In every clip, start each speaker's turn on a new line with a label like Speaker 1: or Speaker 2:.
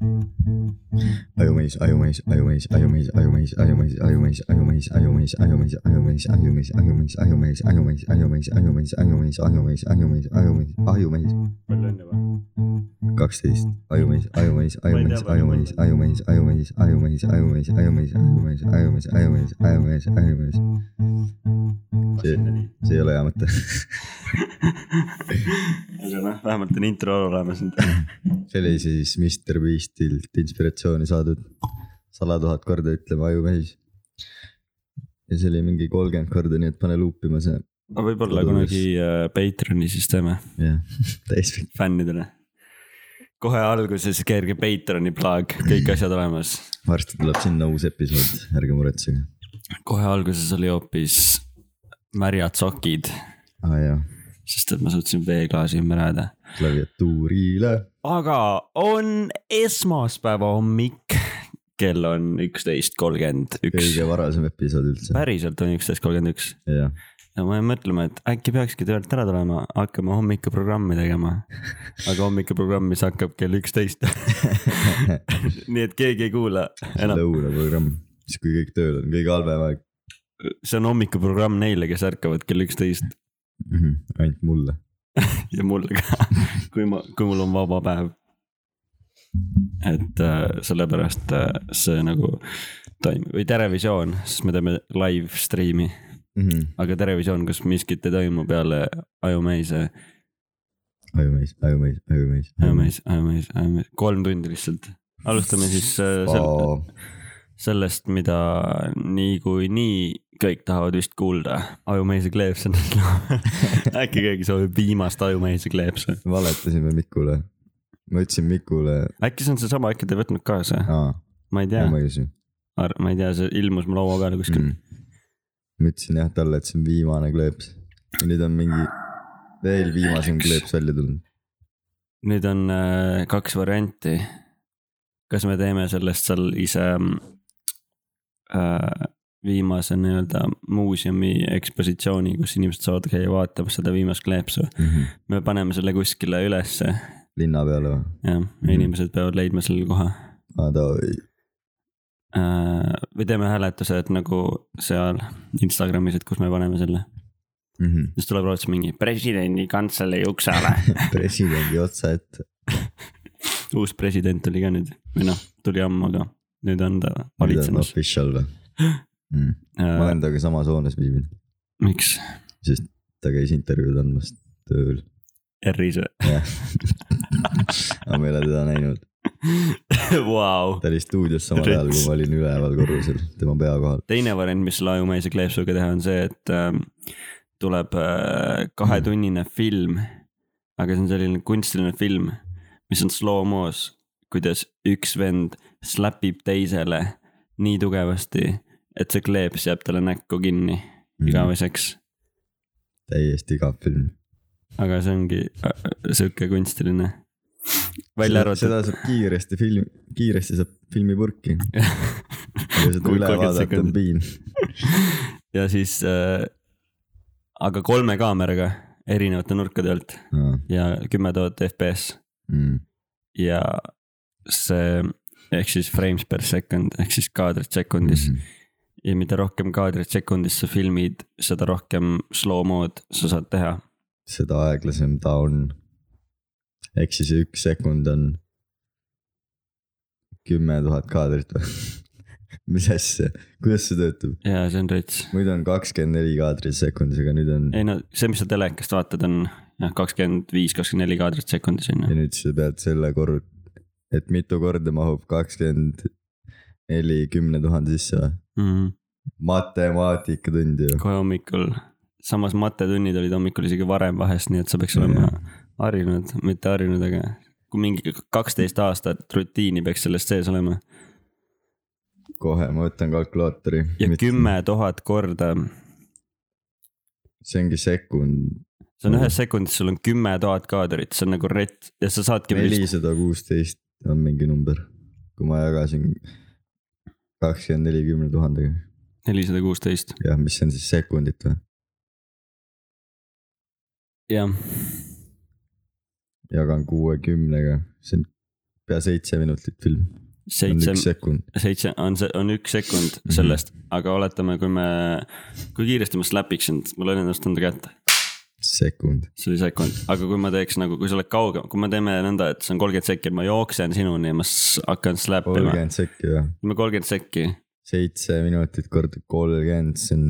Speaker 1: Ajumees , ajumees , ajumees , ajumees , ajumees , ajumees , ajumees , ajumees , ajumees , ajumees , ajumees , ajumees , ajumees , ajumees , ajumees , ajumees , ajumees , ajumees , ajumees , ajumees , ajumees , ajumees ,
Speaker 2: palju õnne või ?
Speaker 1: kaksteist , ajumees , ajumees , ajumees , ajumees , ajumees , ajumees , ajumees , ajumees , ajumees , ajumees , ajumees , ajumees , ajumees , ajumees . See-
Speaker 2: kakskümmend neli .
Speaker 1: see ei ole hea mõte .
Speaker 2: aga noh , vähemalt on intro olemas nüüd .
Speaker 1: see oli siis Mr Beastilt inspiratsiooni saadud sada tuhat korda ütleme ajumees . ja see oli mingi kolmkümmend korda , nii et pane luupima see ,
Speaker 2: aga võib-olla kunagi äh, Patreon'i siis teeme
Speaker 1: jah , täispikk .
Speaker 2: fännidele . kohe alguses keerge Patreon'i plaag , kõik asjad olemas .
Speaker 1: varsti tuleb sinna uus episood , ärge muretsege .
Speaker 2: kohe alguses oli hoopis märjad sokid ,
Speaker 1: aa ah, jaa ,
Speaker 2: sest et ma suutsin veeklaasi ümber ajada .
Speaker 1: klaviatuurile .
Speaker 2: aga on esmaspäeva hommik , kell on üksteist kolmkümmend üks
Speaker 1: kõige varasem episood üldse ,
Speaker 2: päriselt on üksteist kolmkümmend üks
Speaker 1: jah .
Speaker 2: ja ma jäin mõtlema , et äkki peakski töölt ära tulema , hakkama hommikuprogrammi tegema . aga hommikuprogramm , mis hakkab kell üksteist . nii et keegi ei kuula enam ,
Speaker 1: lõunaprogramm , siis kui kõik tööl on , kõige halvem aeg
Speaker 2: see on hommikuprogramm neile , kes ärkavad kell üksteist
Speaker 1: mm . -hmm. ainult mulle .
Speaker 2: ja mulle ka , kui ma , kui mul on vaba päev . et äh, sellepärast äh, see nagu toimib või Terevisioon , sest me teeme live stream'i ,
Speaker 1: Mm -hmm.
Speaker 2: aga Terevisioon , kus miskit ei toimu peale ajumeise
Speaker 1: ajumees , ajumees , ajumees .
Speaker 2: ajamees , ajamees , ajamees , kolm tundi lihtsalt . alustame siis äh, sel-
Speaker 1: Aa,
Speaker 2: sellest , mida niikuinii kõik tahavad vist kuulda . ajumeise kleeps on äkki keegi soovib viimast ajumeise kleepsa .
Speaker 1: valetasime Mikule , ma ütlesin Mikule ,
Speaker 2: äkki see on seesama , äkki te ei võtnud kaasa ,
Speaker 1: aa ,
Speaker 2: ma ei tea ,
Speaker 1: ma ei usu
Speaker 2: ma ei tea , see ilmus mu laua peale kuskil mm. .
Speaker 1: mm. . ma ütlesin jah talle , et see on viimane kleeps ja nüüd on mingi veel viimasem kleeps välja tulnud .
Speaker 2: nüüd on äh, kaks varianti . kas me teeme sellest seal ise mm, äh, viimase nii-öelda muuseumi ekspositsiooni , kus inimesed saavad käia vaatamas seda viimast kleepsu . me paneme selle kuskile ülesse ,
Speaker 1: Mhm. linna peale või ?
Speaker 2: jah ,
Speaker 1: Mhm.
Speaker 2: inimesed peavad leidma selle koha
Speaker 1: aa davai ,
Speaker 2: äh, . või teeme hääletused nagu seal Instagramis , et kus me paneme selle ,
Speaker 1: Mhm.
Speaker 2: siis tuleb raudselt mingi presidendi kantselei ukse alla .
Speaker 1: presidendi otsa ette ,
Speaker 2: uus president tuli ka nüüd või noh , tuli ammu , aga nüüd on ta
Speaker 1: nüüd on
Speaker 2: valitsemas . Äh,
Speaker 1: official või mm. ? ma olen temaga samas hoones viibinud ,
Speaker 2: miks
Speaker 1: sest ta käis intervjuud andmas tööl ,
Speaker 2: R-is
Speaker 1: jah . aga ma ei ole teda näinud ,
Speaker 2: või wow. ?
Speaker 1: ta oli stuudios samal ajal , kui ma olin üleval korrusel tema pea kohal .
Speaker 2: teine variant , mis selle ajumeise kleepsuga teha , on see , et ähm, tuleb äh, kahetunnine film . aga see on selline kunstiline film , mis on slow-mo's , kuidas üks vend slapib teisele nii tugevasti , et see kleeps jääb talle näkku kinni
Speaker 1: Mhm.
Speaker 2: igaveseks .
Speaker 1: Mm. täiesti igav film .
Speaker 2: aga see ongi äh, sihuke kunstiline , välja arvatud .
Speaker 1: seda saab kiiresti film , kiiresti saab filmi purki , aga seda
Speaker 2: Kui
Speaker 1: üle
Speaker 2: 30
Speaker 1: vaadata on
Speaker 2: sekundit.
Speaker 1: piin .
Speaker 2: ja siis äh, , aga kolme kaameraga erinevate nurkade alt ja kümme tuhat FPS
Speaker 1: Mm.
Speaker 2: ja see ehk siis frames per second ehk siis kaadrid sekundis
Speaker 1: Mhm.
Speaker 2: mm . -hmm. ja mida rohkem kaadrid sekundis sa filmid , seda rohkem slow mode sa saad teha .
Speaker 1: seda aeglasem ta on . ehk siis üks sekund on kümme tuhat kaadrit või ? mis asja , kuidas see töötab ?
Speaker 2: ja see on rits .
Speaker 1: muidu on kakskümmend neli kaadrit sekundis , aga nüüd on
Speaker 2: ei no see , mis sa telekast vaatad , on jah kakskümmend viis , kakskümmend neli kaadrit sekundis on
Speaker 1: ja
Speaker 2: ju .
Speaker 1: nüüd sa pead selle korru- , et mitu korda mahub kakskümmend neli kümne tuhande sisse või ?
Speaker 2: Mhm.
Speaker 1: matemaatikatund ju .
Speaker 2: kohe hommikul , samas matetunnid olid hommikul isegi varem vahest , nii et sa peaks olema
Speaker 1: Jah.
Speaker 2: harjunud , mitte harjunud , aga kui mingi kaksteist aastat rutiini peaks sellest sees olema
Speaker 1: kohe ma võtan kalkulaatori .
Speaker 2: ja kümme tuhat korda .
Speaker 1: see ongi sekund ,
Speaker 2: see on
Speaker 1: Mm.
Speaker 2: ühes sekundis , sul on kümme tuhat kaadrit , see on nagu rett ja sa saadki vist ,
Speaker 1: nelisada kuusteist on mingi number , kui ma jagasin kakskümmend neli kümne tuhandega ,
Speaker 2: nelisada kuusteist ,
Speaker 1: jah , mis on siis sekundit või ,
Speaker 2: jah .
Speaker 1: jagan kuuekümnega , see on pea seitse minutit film .
Speaker 2: seitse ,
Speaker 1: üks sekund . Mhm.
Speaker 2: seitse on see , on üks sekund sellest , aga oletame , kui me , kui kiiresti ma slap'iks sind , mul oli ennast enda kätte ,
Speaker 1: sekund .
Speaker 2: see oli sekund , aga kui ma teeks nagu , kui sa oled kaugem , kui me teeme nõnda , et see on kolmkümmend sekki , ma jooksen sinuni ja ma s- hakkan slap ima ,
Speaker 1: kolmkümmend sekki või ?
Speaker 2: teeme kolmkümmend sekki ,
Speaker 1: seitse minutit korda kolmkümmend , see on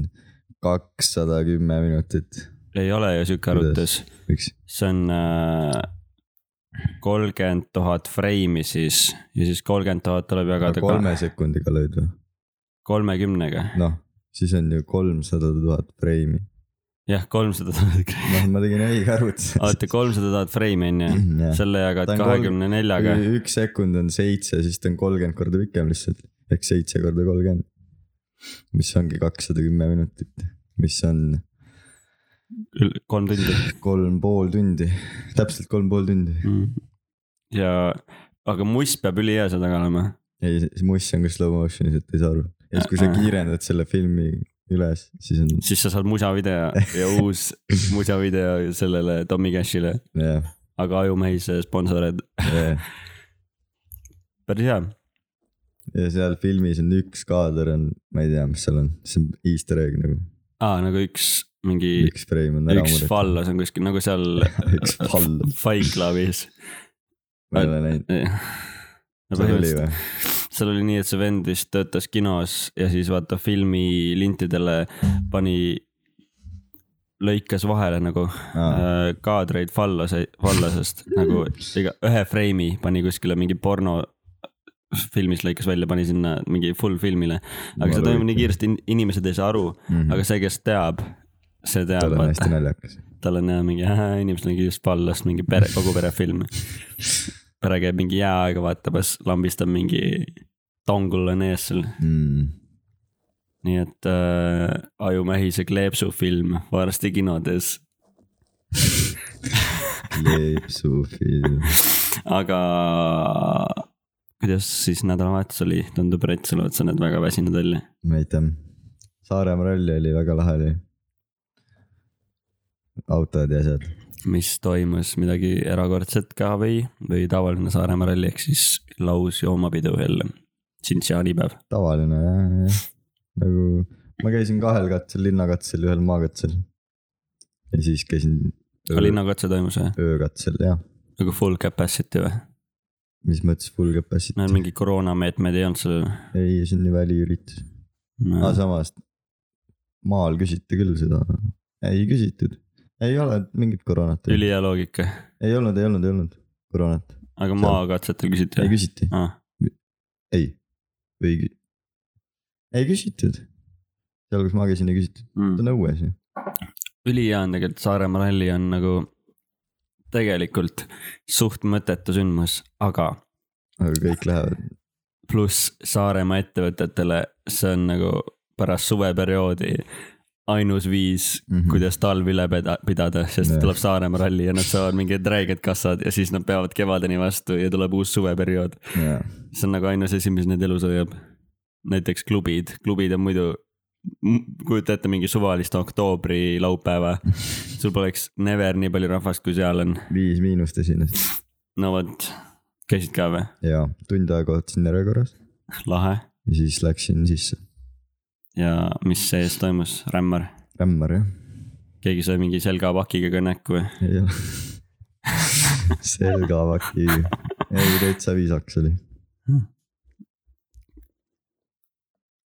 Speaker 1: kakssada kümme minutit .
Speaker 2: ei ole ju sihuke
Speaker 1: Kuidas?
Speaker 2: arvutus ,
Speaker 1: miks ?
Speaker 2: see on äh, kolmkümmend tuhat freimi siis ja siis kolmkümmend tuhat tuleb jagada kolme.
Speaker 1: kolme sekundiga lööd või ?
Speaker 2: kolmekümnega ,
Speaker 1: noh , siis on ju kolmsada tuhat freimi .
Speaker 2: jah , kolmsada tuhat ,
Speaker 1: noh , ma tegin õige arvutuse .
Speaker 2: oota kolmsada tuhat freimi on ju , selle
Speaker 1: Mm,
Speaker 2: jagad
Speaker 1: Ta on kolm-
Speaker 2: kahekümne neljaga ,
Speaker 1: üks sekund on seitse , siis ta on kolmkümmend korda pikem lihtsalt . ehk seitse korda kolmkümmend . mis ongi kakssada kümme minutit , mis on
Speaker 2: kolm tundi
Speaker 1: kolm pool tundi , täpselt kolm pool tundi .
Speaker 2: mm. . ja , aga muss peab ülihea seal taga olema ,
Speaker 1: ei , see muss on ka slow motion'is , et ei saa aru . ja siis , kui sa kiirendad selle filmi üles , siis on ,
Speaker 2: siis sa saad musavideo ja uus musavideo sellele Tommy Cashile ,
Speaker 1: jah ,
Speaker 2: aga Ajumehise sponsorid ,
Speaker 1: jah .
Speaker 2: päris hea ,
Speaker 1: ja seal filmis on üks kaader on , ma ei tea , mis seal on , see on easter egg nagu ,
Speaker 2: aa nagu üks mingi
Speaker 1: üks freim on ära
Speaker 2: üks
Speaker 1: muudetud .
Speaker 2: fallas on kuskil nagu seal
Speaker 1: üks fall ,
Speaker 2: Fight Clubis .
Speaker 1: ma ei ole näinud . seal oli või ?
Speaker 2: seal oli nii , et see vend vist töötas kinos ja siis vaata filmi lintidele pani , lõikas vahele nagu äh, kaadreid fallase , fallasest nagu iga ühe freimi pani kuskile mingi porno äh, filmis lõikas välja , pani sinna mingi full filmile , aga see toimub nii . kiiresti , inimesed ei saa aru , aga see , kes teab , see
Speaker 1: tal
Speaker 2: teab ,
Speaker 1: on
Speaker 2: vaata
Speaker 1: hästi naljakas .
Speaker 2: tal on jah mingi äh, , inimesel on just pallast mingi pere , kogu pere film . pere käib mingi jääaega vaatamas , lambistab mingi tongul on ees seal ,
Speaker 1: Mm,
Speaker 2: nii et äh, Ajumähise kleepsu film varsti kinodes .
Speaker 1: Leepsu film ,
Speaker 2: aga kuidas siis nädalavahetus oli , tundub , Rett , sa oled , sa oled väga väsinud välja .
Speaker 1: ma ei tea . Saaremaa ralli oli väga lahe oli . autod ja asjad .
Speaker 2: mis toimus , midagi erakordset ka või , või tavaline Saaremaa ralli ehk siis lausjoomapidu jälle , siin see jaanipäev .
Speaker 1: tavaline jah , jah . nagu ma käisin kahel katsel , linnakatsel ja ühel maakatsel . ja siis käisin
Speaker 2: aga linnakatse nagu, toimus või ?
Speaker 1: öökatsel jah ,
Speaker 2: nagu full capacity või ?
Speaker 1: mis mõttes full capacity
Speaker 2: no mingi koroonameetmeid ei olnud seal
Speaker 1: ei , see on ju väliüritus no. .
Speaker 2: no,
Speaker 1: aga . samas maal küsiti küll seda , ei küsitud , ei ole mingit koroonat , ei
Speaker 2: ülihea loogika ,
Speaker 1: olnud , ei olnud , ei olnud koroonat ,
Speaker 2: aga maakatsetel küsiti
Speaker 1: ei
Speaker 2: või ?
Speaker 1: küsiti ,
Speaker 2: Ah,
Speaker 1: ei või kü- ei küsitud . seal , kus ma käisin , ei küsitud , ta
Speaker 2: mm.
Speaker 1: on õues ju ,
Speaker 2: ülihea on tegelikult Saaremaa ralli on nagu tegelikult suht mõttetu sündmus , aga
Speaker 1: aga kõik lähevad ,
Speaker 2: pluss Saaremaa ettevõtetele see on nagu pärast suveperioodi ainus viis mm ,
Speaker 1: Mhm.
Speaker 2: -hmm. kuidas talv üle peda- pidada , sest
Speaker 1: Jah.
Speaker 2: tuleb Saaremaa ralli ja nad saavad mingid räiged kassad ja siis nad peavad kevadeni vastu ja tuleb uus suveperiood .
Speaker 1: jaa
Speaker 2: see on nagu ainus asi , mis neid elus hoiab . näiteks klubid , klubid on muidu , kujuta ette mingi suvalist oktoobri laupäeva , sul poleks never nii palju rahvast , kui seal on .
Speaker 1: viis miinust esines
Speaker 2: no vot , käisid ka või ?
Speaker 1: ja tund aega ootasin järjekorras
Speaker 2: lahe
Speaker 1: ja siis läksin sisse .
Speaker 2: ja mis sees toimus , rämmar ?
Speaker 1: rämmar jah ,
Speaker 2: keegi sai mingi selgapakiga ka näkku või ?
Speaker 1: ei ole . selga avati , ei täitsa viisakas oli .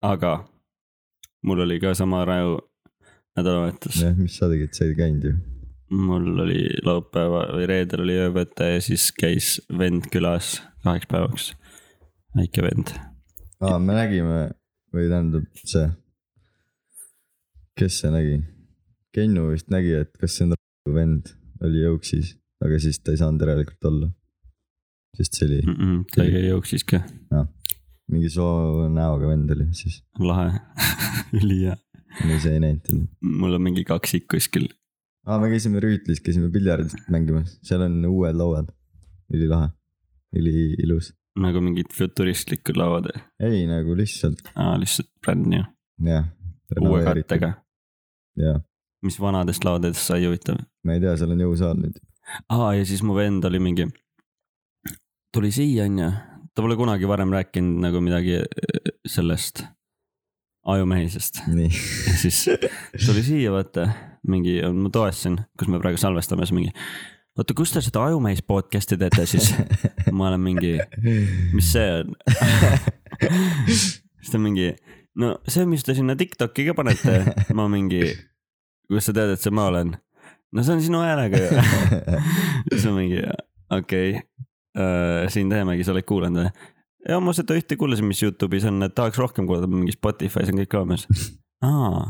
Speaker 2: aga mul oli ka sama raju nädalavahetus ,
Speaker 1: jah , mis sa tegid , sa ei käinud ju ?
Speaker 2: mul oli laupäeva või reedel oli öövõte ja siis käis vend külas kaheks päevaks . väike vend ,
Speaker 1: aa , me nägime või tähendab see , kes see nägi ? Kennu vist nägi , et kas see on r- vend , oli jõuksis , aga siis ta ei saanud järelikult olla . sest see oli
Speaker 2: mm -mm, ta ei jooksis ka
Speaker 1: mingi soo näoga vend oli siis ,
Speaker 2: lahe , ülihea .
Speaker 1: me ise ei näinud teda .
Speaker 2: mul on mingi kaksik kuskil ,
Speaker 1: aa , me käisime Rüütlis , käisime piljardit mängimas , seal on uued lauad . ülilahe , üliilus .
Speaker 2: nagu mingid futuristlikud lauad ,
Speaker 1: ei nagu lihtsalt ,
Speaker 2: lihtsalt brand new ,
Speaker 1: jah .
Speaker 2: uue . kattega .
Speaker 1: jah ,
Speaker 2: mis vanadest laudadest sai huvitav ?
Speaker 1: ma ei tea , seal on jõusaal nüüd .
Speaker 2: aa , ja siis mu vend oli mingi , tuli siia onju, ta pole kunagi varem rääkinud nagu midagi sellest ajumehisest
Speaker 1: nii ,
Speaker 2: ja siis tuli siia , vaata , mingi , ma toestasin , kus me praegu salvestame , siis mingi . oota , kus te seda ajumehis podcast'i teete siis ? ma olen mingi , mis see on ? siis ta mingi , no see , mis te sinna Tiktoki ka panete , ma mingi , kust sa tead , et see ma olen ? no see on sinu häälega ju . siis ma mingi , okei okay. , siin teemegi , sa oled kuulanud või ? ja ma seda ühte kuulasin , mis Youtube'is on , et tahaks rohkem kuulata , mingi Spotify's on kõik olemas . aa ,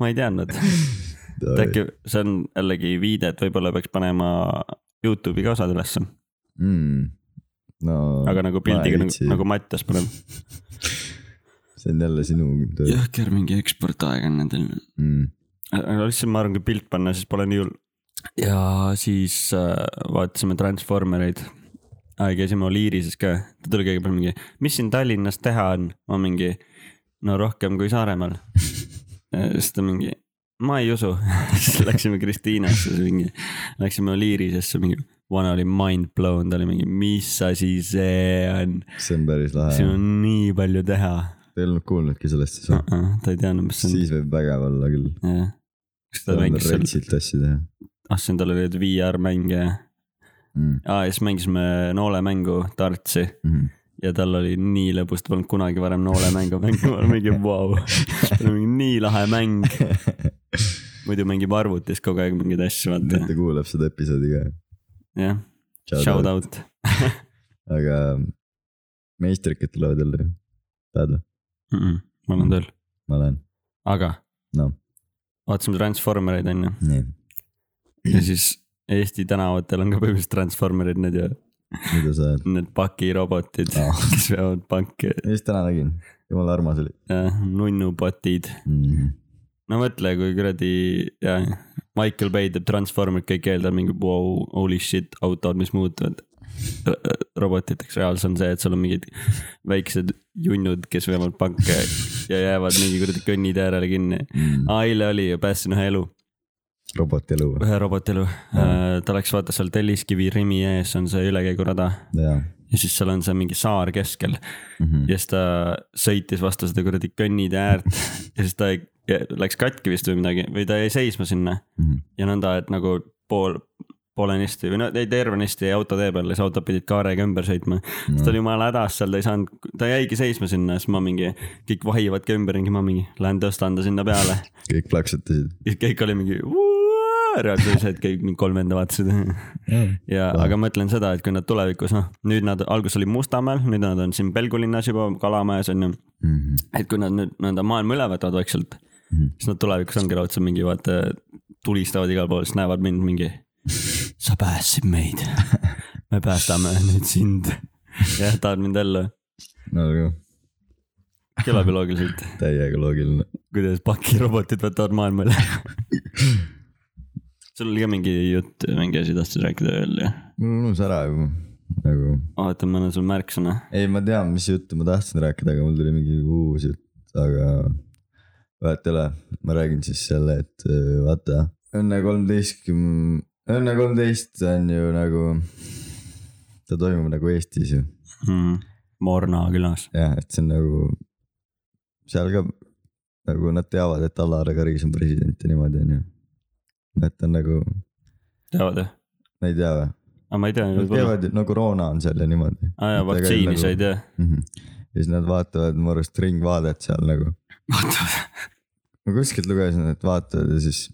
Speaker 2: ma ei teadnud , et äkki see on jällegi viide , et võib-olla peaks panema Youtube'i ka osad ülesse ,
Speaker 1: mm. . no
Speaker 2: aga nagu pildiga
Speaker 1: ma ei
Speaker 2: nagu,
Speaker 1: viitsi.
Speaker 2: nagu Mattias paneb .
Speaker 1: see on jälle sinu töö .
Speaker 2: jõhker mingi eksportaeg on nendel .
Speaker 1: Mm.
Speaker 2: aga lihtsalt ma arvan , kui pilt panna , siis pole nii hull . ja siis äh, vaatasime Transformereid . käisime Oliirises ka , ta tuli kõigepealt mingi , mis siin Tallinnas teha on , ma mingi , no rohkem kui Saaremaal . siis ta mingi , ma ei usu , siis läksime Kristiinasse siis mingi , läksime Oliirisesse mingi , vana oli mind blown , ta oli mingi , mis asi see on ,
Speaker 1: see on päris lahe
Speaker 2: siin . on nii palju teha
Speaker 1: ei olnud kuulnudki sellest siis
Speaker 2: uh .
Speaker 1: või ?
Speaker 2: -uh, ta ei teadnud , mis see on ,
Speaker 1: siis võib vägev olla küll .
Speaker 2: jah . siis ta
Speaker 1: tal on
Speaker 2: mängis seal
Speaker 1: retsilt asju teha
Speaker 2: ah , siin tal oli need VR-mänge
Speaker 1: mm. .
Speaker 2: ah, , ja siis mängisime noolemängu tartsi
Speaker 1: Mm.
Speaker 2: ja tal oli nii lõbus , ta polnud kunagi varem noolemängu mänginud , ma olin mingi vau wow. , tal on mingi nii lahe mäng , muidu mängib arvutis kogu aeg mingeid asju ,
Speaker 1: nüüd
Speaker 2: vaata ,
Speaker 1: ta kuulab seda episoodi ka .
Speaker 2: jah , shout out .
Speaker 1: aga meistrikad tulevad jälle ju , tead või ?
Speaker 2: ma olen tööl ,
Speaker 1: ma lähen ,
Speaker 2: aga
Speaker 1: No.
Speaker 2: vaatasime Transformereid onju
Speaker 1: nii ,
Speaker 2: ja siis Eesti tänavatel on ka põhimõtteliselt Transformerid , need ju ,
Speaker 1: mida sa ajad ?
Speaker 2: need pakirobotid
Speaker 1: Aa.
Speaker 2: oh. , kes veavad panki ,
Speaker 1: just täna nägin , jumala armas oli
Speaker 2: nunnupotid
Speaker 1: mm. .
Speaker 2: no mõtle , kui kuradi , jah , Michael Bay teeb Transformerid kõik eeldab mingi wow, holy shit autod , mis muutuvad r- robotiteks , reaalsus on see , et sul on mingid väiksed junnud , kes veavad panke ja jäävad mingi kuradi kõnnitee äärele kinni .
Speaker 1: Mm.
Speaker 2: aa , eile oli ju , päästsin ühe elu ,
Speaker 1: roboti elu või ?
Speaker 2: ühe robotelu . ta läks , vaata seal Telliskivi Rimi ees on see ülekäigurada
Speaker 1: jaa
Speaker 2: ja siis seal on see mingi saar keskel
Speaker 1: mm -hmm. .
Speaker 2: ja siis ta sõitis vastu seda kuradi kõnnitee äärt ja siis ta ei- ja läks katki vist või midagi või ta jäi seisma sinna
Speaker 1: Mm -hmm.
Speaker 2: ja nõnda , et nagu pool , poolenisti või no ei tervenisti jäi auto tee peale , siis autod pidid kaarega ümber sõitma no. . siis ta oli jumala hädas seal , ta ei saanud , ta jäigi seisma sinna , siis ma mingi , kõik vahivadki ümberringi , ma mingi lähen tõstan ta sinna peale .
Speaker 1: kõik plaksutasid .
Speaker 2: ja kõik oli mingi "Vuaa!" reaalselt oli see , et kõik mingi kolm venda vaatasid ja , aga ma ütlen seda , et kui nad tulevikus noh , nüüd nad , alguses oli Mustamäel , nüüd nad on siin Pelgu linnas juba Kalamajas on ju .
Speaker 1: Mhm,
Speaker 2: et kui nad nüüd nõnda maailma üle võtavad vaikselt , siis nad tulevikus ongi raudselt mingi vaata , tulistavad igal pool , siis näevad mind mingi . sa päästsid meid , me päästame nüüd sind . jah , tahad mind ellu ,
Speaker 1: no aga
Speaker 2: kõlab ju loogiliselt ,
Speaker 1: täiega loogiline .
Speaker 2: kuidas pakirobotid võtavad maailma üle . sul oli ka mingi jutt , mingi asi tahtsid rääkida veel ju ?
Speaker 1: mul unus ära juba , nagu .
Speaker 2: oota , ma annan sulle märksõna .
Speaker 1: ei , ma tean , mis juttu ma tahtsin rääkida , aga mul tuli mingi uus jutt , aga vahet ei ole , ma räägin siis selle , et öö, vaata , Õnne kolmteistkümne , Õnne kolmteist on ju nagu , ta toimub nagu Eestis ju ,
Speaker 2: mm. . Morna külas .
Speaker 1: jah , et see on nagu , seal ka nagu nad teavad , et Alar Karis on president ja niimoodi on ju . et ta on nagu ,
Speaker 2: teavad jah ?
Speaker 1: ma ei tea või ,
Speaker 2: aga ma ei tea .
Speaker 1: nad käivad , no koroona on seal ja niimoodi
Speaker 2: aa Ah
Speaker 1: et
Speaker 2: jaa ,
Speaker 1: ega ei
Speaker 2: vaktsiini
Speaker 1: nagu-
Speaker 2: sa ei tea .
Speaker 1: mm . -hmm. ja siis nad vaatavad mu arust Ringvaadet seal nagu , ma kuskilt lugesin , et vaatavad ja siis .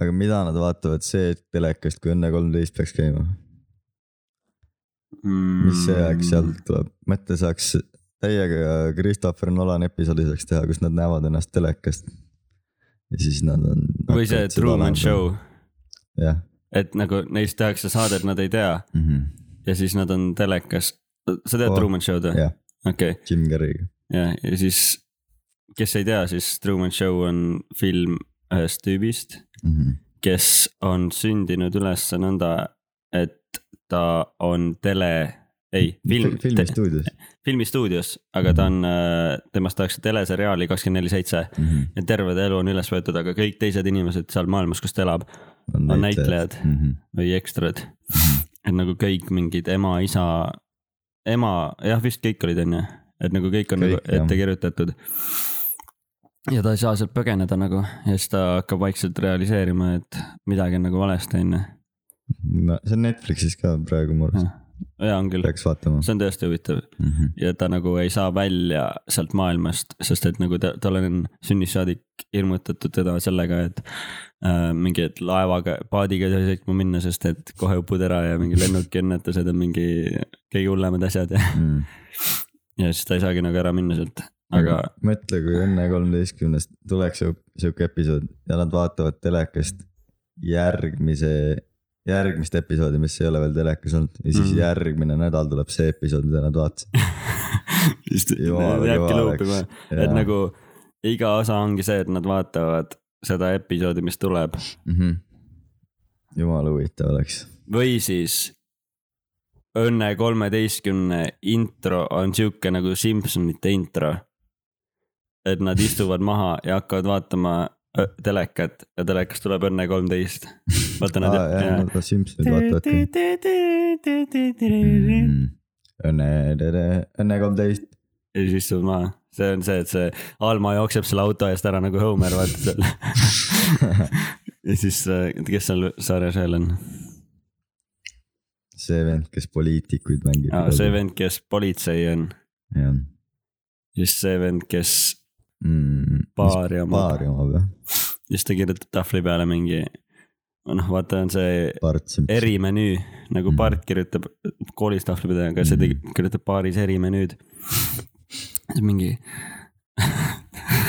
Speaker 1: aga mida nad vaatavad see telekast , kui Õnne kolmteist peaks käima ,
Speaker 2: Hmm.
Speaker 1: mis see aeg sealt tuleb , mõtle saaks täiega Christopher Nolan episoodi saaks teha , kus nad näevad ennast telekast . ja siis nad on .
Speaker 2: või see Truman . Show ,
Speaker 1: jah
Speaker 2: et nagu neist tehakse saadet , nad ei tea
Speaker 1: mm -hmm. ,
Speaker 2: ja siis nad on telekas . sa tead
Speaker 1: Oh,
Speaker 2: oh, Truman Show'd või ?
Speaker 1: jah.
Speaker 2: okei ,
Speaker 1: Jim Carrey'ga ,
Speaker 2: ja , ja siis , kes ei tea , siis Truman Show on film ühest tüübist ,
Speaker 1: mm -hmm.
Speaker 2: kes on sündinud üles nõnda , et ta on tele , ei , film ,
Speaker 1: filmistuudios
Speaker 2: filmistuudios , aga ta on , temast tehakse teleseriaali kakskümmend neli seitse
Speaker 1: mm . -hmm.
Speaker 2: ja terve ta elu on üles võetud , aga kõik
Speaker 1: Mhm.
Speaker 2: teised inimesed seal maailmas , kus ta elab , on näitlejad
Speaker 1: mm . -hmm.
Speaker 2: või ekstrad . et nagu kõik mingid ema, isa, ema, jah vist kõik olid onju, et nagu kõik on kõik, nagu ette jah. kirjutatud. ja ta ei saa sealt põgeneda nagu ja siis ta hakkab vaikselt realiseerima, et midagi on nagu valesti onju.
Speaker 1: no see on Netflixis ka praegu mu arust.
Speaker 2: jaa, on küll.
Speaker 1: peaks vaatama.
Speaker 2: Ah.
Speaker 1: Mhm.
Speaker 2: see on tõesti huvitav mm. -hmm. ja ta nagu ei saa välja sealt maailmast, sest et nagu ta, tal on sünnist saadik hirmutatud teda sellega, et äh, mingi, et laevaga, paadiga ei tohi sõitma minna, sest et kohe upud ära ja mingi lennukiõnnetused on mingi kõige hullemad asjad ja mm.. ja siis ta ei saagi nagu ära minna sealt, aga.
Speaker 1: mõtle, kui Õnne kolmeteistkümnest tuleks sihuke episood ja nad vaatavad telekast järgmise järgmist episoodi, mis ei ole veel telekas olnud ja siis mm.
Speaker 2: Mhm.
Speaker 1: -hmm. järgmine nädal tuleb see episood, mida nad vaatasid
Speaker 2: just, jääbki luupi kohe, et nagu iga osa ongi see, et nad vaatavad seda episoodi, mis tuleb mm. -hmm.
Speaker 1: Mhm. jumala huvitav oleks.
Speaker 2: või siis Õnne kolmeteistkümne intro on sihuke nagu Simsonite intro. et nad istuvad maha ja hakkavad vaatama telekat ja telekas tuleb Õnne kolmteist. vaata nad
Speaker 1: ah,. jah, nad Simsonid vaatavad. Mhm. Õnne, Õnne kolmteist.
Speaker 2: ja siis istuvad maha see on see, et see Alma jookseb selle auto eest ära nagu Homer, vaata seal. ja siis, kes seal sarjas veel on?
Speaker 1: see vend, kes poliitikuid mängib.
Speaker 2: see vend, kes politsei on.
Speaker 1: jah.
Speaker 2: siis see vend, kes mm, baari omab.
Speaker 1: baari omab, jah.
Speaker 2: siis ta kirjutab tahvli peale mingi, noh, vaata, on see erimenüü, nagu mm. Bart kirjutab koolis tahvli peale, aga see mm. kirjutab baaris erimenüüd siis mingi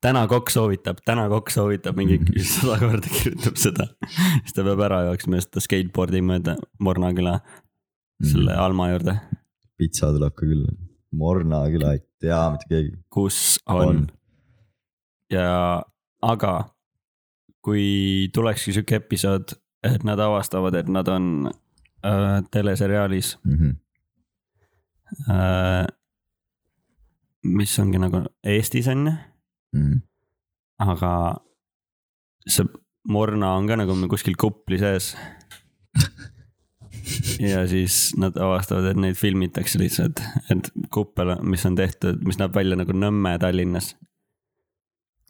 Speaker 2: täna kokk soovitab, täna kokk soovitab mingi sada korda kirjutab seda. siis ta peab ära jooksma ja siis ta skateboard'i mööda Morna küla
Speaker 1: Mhm.
Speaker 2: selle Alma juurde.
Speaker 1: Mm, pitsa tuleb ka külla, Morna küla ei tea mitte keegi.
Speaker 2: kus on, on.? ja, aga kui tulekski sihuke episood, et nad avastavad, et nad on äh, teleseriaalis mm.
Speaker 1: Mhm,
Speaker 2: -hmm. Äh, mis ongi nagu Eestis on ju mm..
Speaker 1: mhm.
Speaker 2: aga see morna on ka nagu kuskil kupli sees ja siis nad avastavad, et neid filmitakse lihtsalt, et kuppel, mis on tehtud, mis näeb välja nagu Nõmme Tallinnas.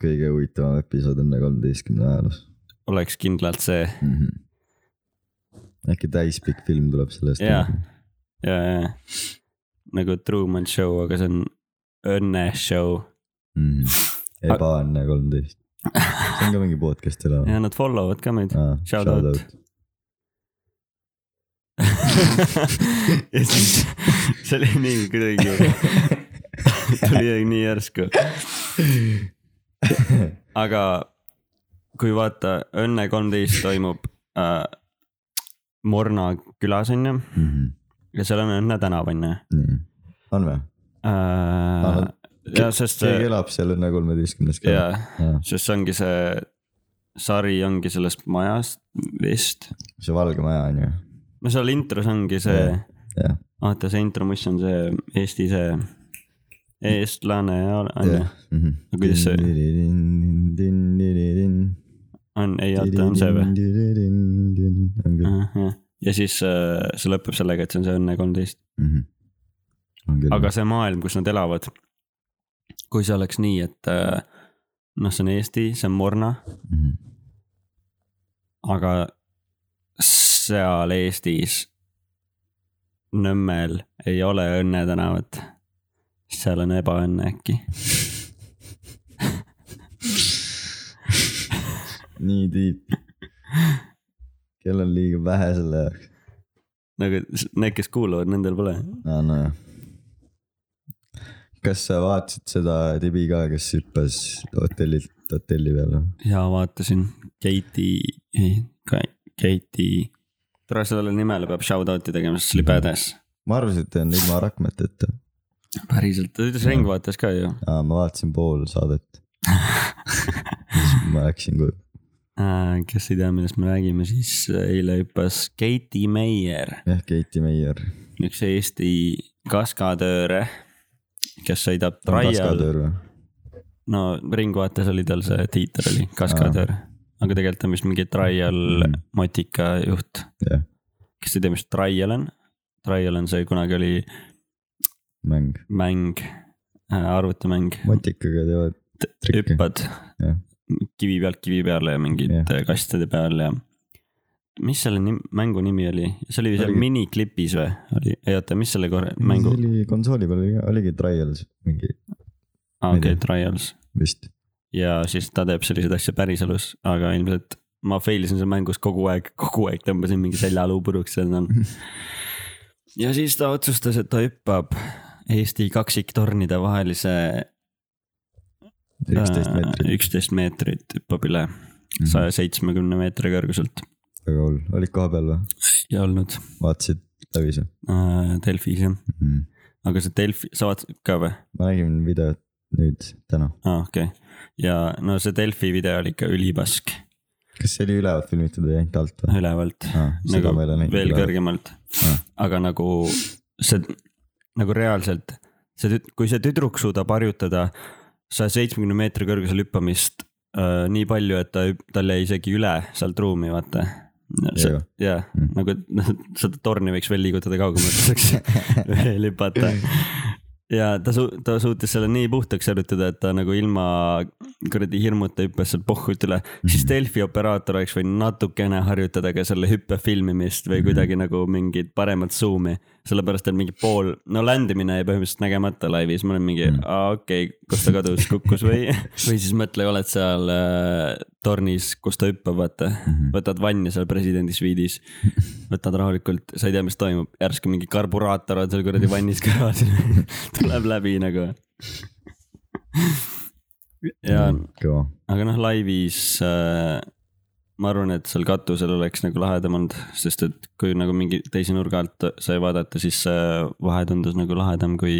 Speaker 1: kõige huvitavam episood on kolmeteistkümne ajaloos.
Speaker 2: oleks kindlalt see mm.
Speaker 1: -hmm. äkki täispikk film tuleb sellest. nagu.
Speaker 2: ja, ja, ja nagu Truman Show, aga see on õnne show
Speaker 1: mm.. ebaõnne kolmteist, see on ka mingi podcast üle.
Speaker 2: ja nad followvad ka meid ah,, shout out. ja siis, see oli nii kuidagi, tuli nii järsku. aga kui vaata, Õnne kolmteist toimub äh, Morna külas onju mm. -hmm. ja seal on Õnne tänav onju
Speaker 1: mm.. Mhm, on või?
Speaker 2: äh,. ja sest.
Speaker 1: keegi elab seal Õnne kolmeteistkümnes
Speaker 2: ka. jaa, sest see ongi see, sari ongi sellest majast vist.
Speaker 1: see valge maja on ju.
Speaker 2: no seal intros ongi see, vaata see intro, mis on see Eesti see, eestlane on ju. no kuidas see? on, ei oota, on see Äh. või? ja siis äh, see lõpeb sellega, et see on see Õnne kolmteist
Speaker 1: Mhm.
Speaker 2: mm. -hmm aga see maailm, kus nad elavad. kui see oleks nii, et noh, see on Eesti, see on Morna mm.
Speaker 1: Mhm.
Speaker 2: -hmm. aga seal Eestis, Nõmmel ei ole Õnne tänavat. seal on ebaõnne äkki
Speaker 1: nii tiip. kell on liiga vähe selle jaoks.
Speaker 2: no aga Nagu need, kes kuulavad, nendel pole.
Speaker 1: aa, nojah kas sa vaatasid seda tibi ka, kes hüppas hotellilt hotelli peale?
Speaker 2: jaa, vaatasin. Keiti, Keiti, tore sellele nimele peab shout-out'i tegema, sest see oli badass.
Speaker 1: ma arvasin, et ta on ilma rakmeteta.
Speaker 2: päriselt, ta ütles Ring vaatas ka ju.
Speaker 1: aa, ma vaatasin pool saadet ma läksin koju.
Speaker 2: Äh, kes ei tea, millest me räägime, siis eile hüppas Keiti Meier.
Speaker 1: jah, Keiti Meier.
Speaker 2: üks Eesti kaskadööre kes sõidab trial. no Ringvaates oli tal see tiitel oli, kaskadöör, aga tegelikult on vist mingi trial mm. -hmm. motikajuht
Speaker 1: yeah..
Speaker 2: kes ei tea , mis Trial on , Trial on see kunagi oli
Speaker 1: mäng ,
Speaker 2: mäng , arvutimäng ,
Speaker 1: matikaga teevad trikke.
Speaker 2: hüppad
Speaker 1: Jah.
Speaker 2: kivi pealt kivi peale ja mingid
Speaker 1: Jah.
Speaker 2: yeah. kastide peal ja . mis selle nim, mängu nimi oli , see oli seal
Speaker 1: Oligi-
Speaker 2: miniklipis või , oli , ei oota , mis selle korra , mängu ,
Speaker 1: see oli konsooli peal oli ka , oligi Trials mingi ma ei
Speaker 2: okei ,
Speaker 1: tea.
Speaker 2: Trials
Speaker 1: vist .
Speaker 2: ja siis ta teeb selliseid asju päriselus , aga ilmselt ma fail isin seal mängus kogu aeg , kogu aeg tõmbasin mingi seljaluu puruks seal no. . ja siis ta otsustas , et ta hüppab Eesti kaksiktornide vahelise äh,
Speaker 1: üksteist meetrit , Mhm.
Speaker 2: üksteist meetrit hüppab üle saja seitsmekümne meetri kõrguselt
Speaker 1: väga hull , olid kohapeal või ,
Speaker 2: ja olnud
Speaker 1: vaatasid läbi see
Speaker 2: äh, Delfis jah ,
Speaker 1: mm ? -hmm.
Speaker 2: aga see Delfi , sa vaatasid ka või ?
Speaker 1: ma nägin videot nüüd täna ,
Speaker 2: aa ah, okei okay. ja no see Delfi video oli ikka ülipask
Speaker 1: kas see oli ülevalt filmitud või ainult alt või ?
Speaker 2: ülevalt ,
Speaker 1: seda
Speaker 2: nagu
Speaker 1: ma ei ole näinud .
Speaker 2: veel . kõrgemalt
Speaker 1: Ah. .
Speaker 2: aga nagu see nagu reaalselt see , kui see tüdruk suudab harjutada saja seitsmekümne meetri kõrgusel hüppamist äh, nii palju , et ta , tal jäi isegi üle sealt ruumi , vaata .
Speaker 1: Jäi või?
Speaker 2: jah ,
Speaker 1: Mm.
Speaker 2: nagu et noh, seda torni võiks veel liigutada kaugemale , et saaks veel hüpata . ja ta su- , ta suutis selle nii puhtaks harjutada , et ta nagu ilma kuradi hirmuta hüppas sealt pohhult üle , siis Delfi operaator oleks võinud natukene harjutada ka selle hüppe filmimist või kuidagi nagu mingit paremat zoom'i . sellepärast , et mingi pool , no ländimine jäi põhimõtteliselt nägemata laivis , ma olin mingi , aa okei okay, , kus ta kadus , kukkus või , Mm. või siis mõtle , oled seal äh, tornis , kus ta hüppab , vaata . võtad vanni seal presidendi sviidis , võtad rahulikult , sa ei tea , mis toimub , järsku mingi karburaator on seal kuradi vannis kõrval , tuleb läbi nagu . ja
Speaker 1: Mhm, kõva ,
Speaker 2: aga noh , laivis äh, ma arvan , et seal katusel oleks nagu lahedam olnud , sest et kui nagu mingi teise nurga alt sai vaadata , siis äh, vahe tundus nagu lahedam kui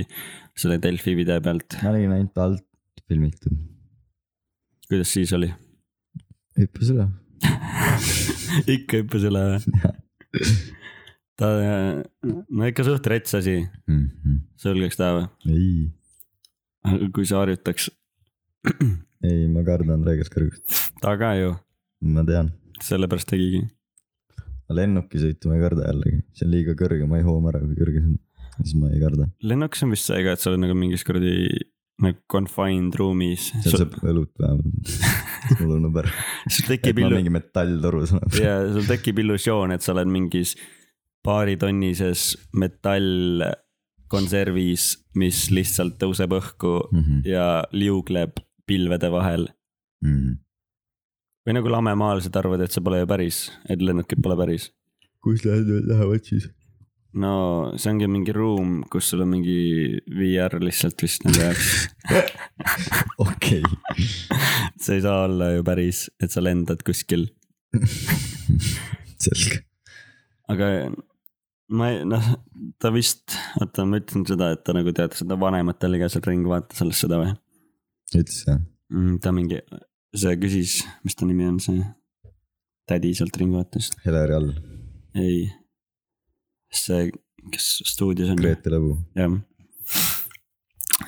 Speaker 2: selle Delfi video pealt .
Speaker 1: ma nägin ainult alt filmitud ,
Speaker 2: kuidas siis oli ?
Speaker 1: hüppas üle .
Speaker 2: ikka hüppas üle või ? ta , no ikka suht rets asi , Mhm. sulgeks ta või ?
Speaker 1: ei ,
Speaker 2: aga kui sa harjutaks ,
Speaker 1: ei , ma kardan reeglist kõrgust ,
Speaker 2: ta ka ju ,
Speaker 1: ma tean
Speaker 2: sellepärast tegigi .
Speaker 1: ma lennuki sõitu ma ei karda jällegi , see on liiga kõrge , ma ei hooma ära , kui kõrge see on . siis ma ei karda ,
Speaker 2: lennukis on vist see ka , et sa oled nagu mingis kuradi nagu confined ruumis .
Speaker 1: seal saab õlut vähemalt . mul on nõber ,
Speaker 2: sul
Speaker 1: et
Speaker 2: tekib
Speaker 1: ma
Speaker 2: illu-
Speaker 1: mingi metalltorus olen .
Speaker 2: ja sul tekib illusioon , et sa oled mingis paaritonnises metallkonservis , mis lihtsalt tõuseb õhku
Speaker 1: Mhm,
Speaker 2: ja liugleb pilvede vahel .
Speaker 1: mhm.
Speaker 2: või nagu lamemaalased arvavad , et see pole ju päris , et lennukid pole päris .
Speaker 1: kus lähevad , lähevad siis ?
Speaker 2: no see ongi mingi ruum , kus sul on mingi VR lihtsalt vist nende jaoks .
Speaker 1: okei ,
Speaker 2: see ei saa olla ju päris , et sa lendad kuskil ,
Speaker 1: selge .
Speaker 2: aga ma ei , noh , ta vist , oota , ma ütlesin seda , et ta nagu tead seda vanematele ka seal ringi vaatas alles seda või ?
Speaker 1: ütles jah ?
Speaker 2: mm, . ta mingi , see küsis , mis ta nimi on , see tädi sealt Ringvaates ,
Speaker 1: Heleri all ,
Speaker 2: ei . see , kes stuudios on ,
Speaker 1: Grete Lõbu .
Speaker 2: jah .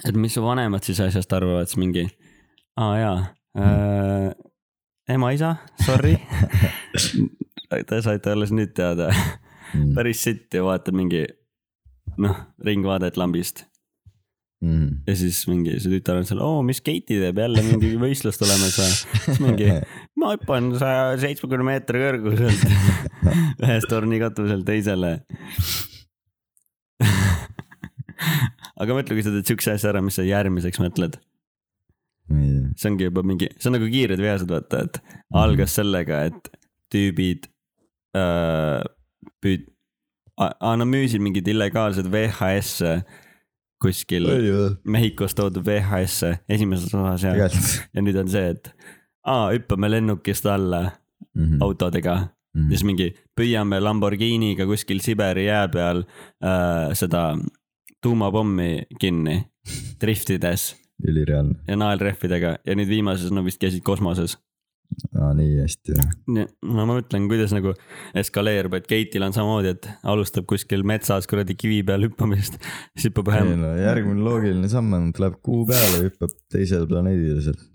Speaker 2: et mis su vanemad siis asjast arvavad , siis mingi , aa jaa äh, , ema-isa , sorry . Te saite alles nüüd teada ,
Speaker 1: Mhm,
Speaker 2: päris sitt ja vaatad mingi noh , ringvaadet lambist
Speaker 1: mhm.
Speaker 2: ja siis mingi see tütar on seal , oo , mis Keiti teeb jälle mingi võistlus tulemas või ? siis mingi , ma hüppan saja seitsmekümne meetri kõrguselt ühest torni katuselt teisele . aga mõtle , kui sa teed siukse asja ära , mis sa järgmiseks mõtled ,
Speaker 1: ma ei tea ,
Speaker 2: see ongi juba mingi , see on nagu kiired veased , vaata , et algas sellega , et tüübid öö, püüd- , aa , no müüsid mingeid illegaalseid VHS-e kuskil
Speaker 1: oli või ?
Speaker 2: Mehhikost toodud VHS-e esimeses osas ja ,
Speaker 1: tegelikult .
Speaker 2: ja nüüd on see , et aa , hüppame lennukist alla
Speaker 1: Mhm,
Speaker 2: autodega ja siis mingi püüame Lamborghiniga kuskil Siberi jää peal äh, seda tuumapommi kinni driftides
Speaker 1: ülireaalne ,
Speaker 2: ja naelrehvidega ja nüüd viimases nad vist käisid kosmoses .
Speaker 1: aa nii hästi jah ,
Speaker 2: no ma mõtlen , kuidas nagu eskaleerub , et Keitil on samamoodi , et alustab kuskil metsas kuradi kivi peal hüppamist , siis hüppab ühe
Speaker 1: ei no järgmine loogiline samm on , tuleb kuu peale , hüppab teisele planeedile sealt ,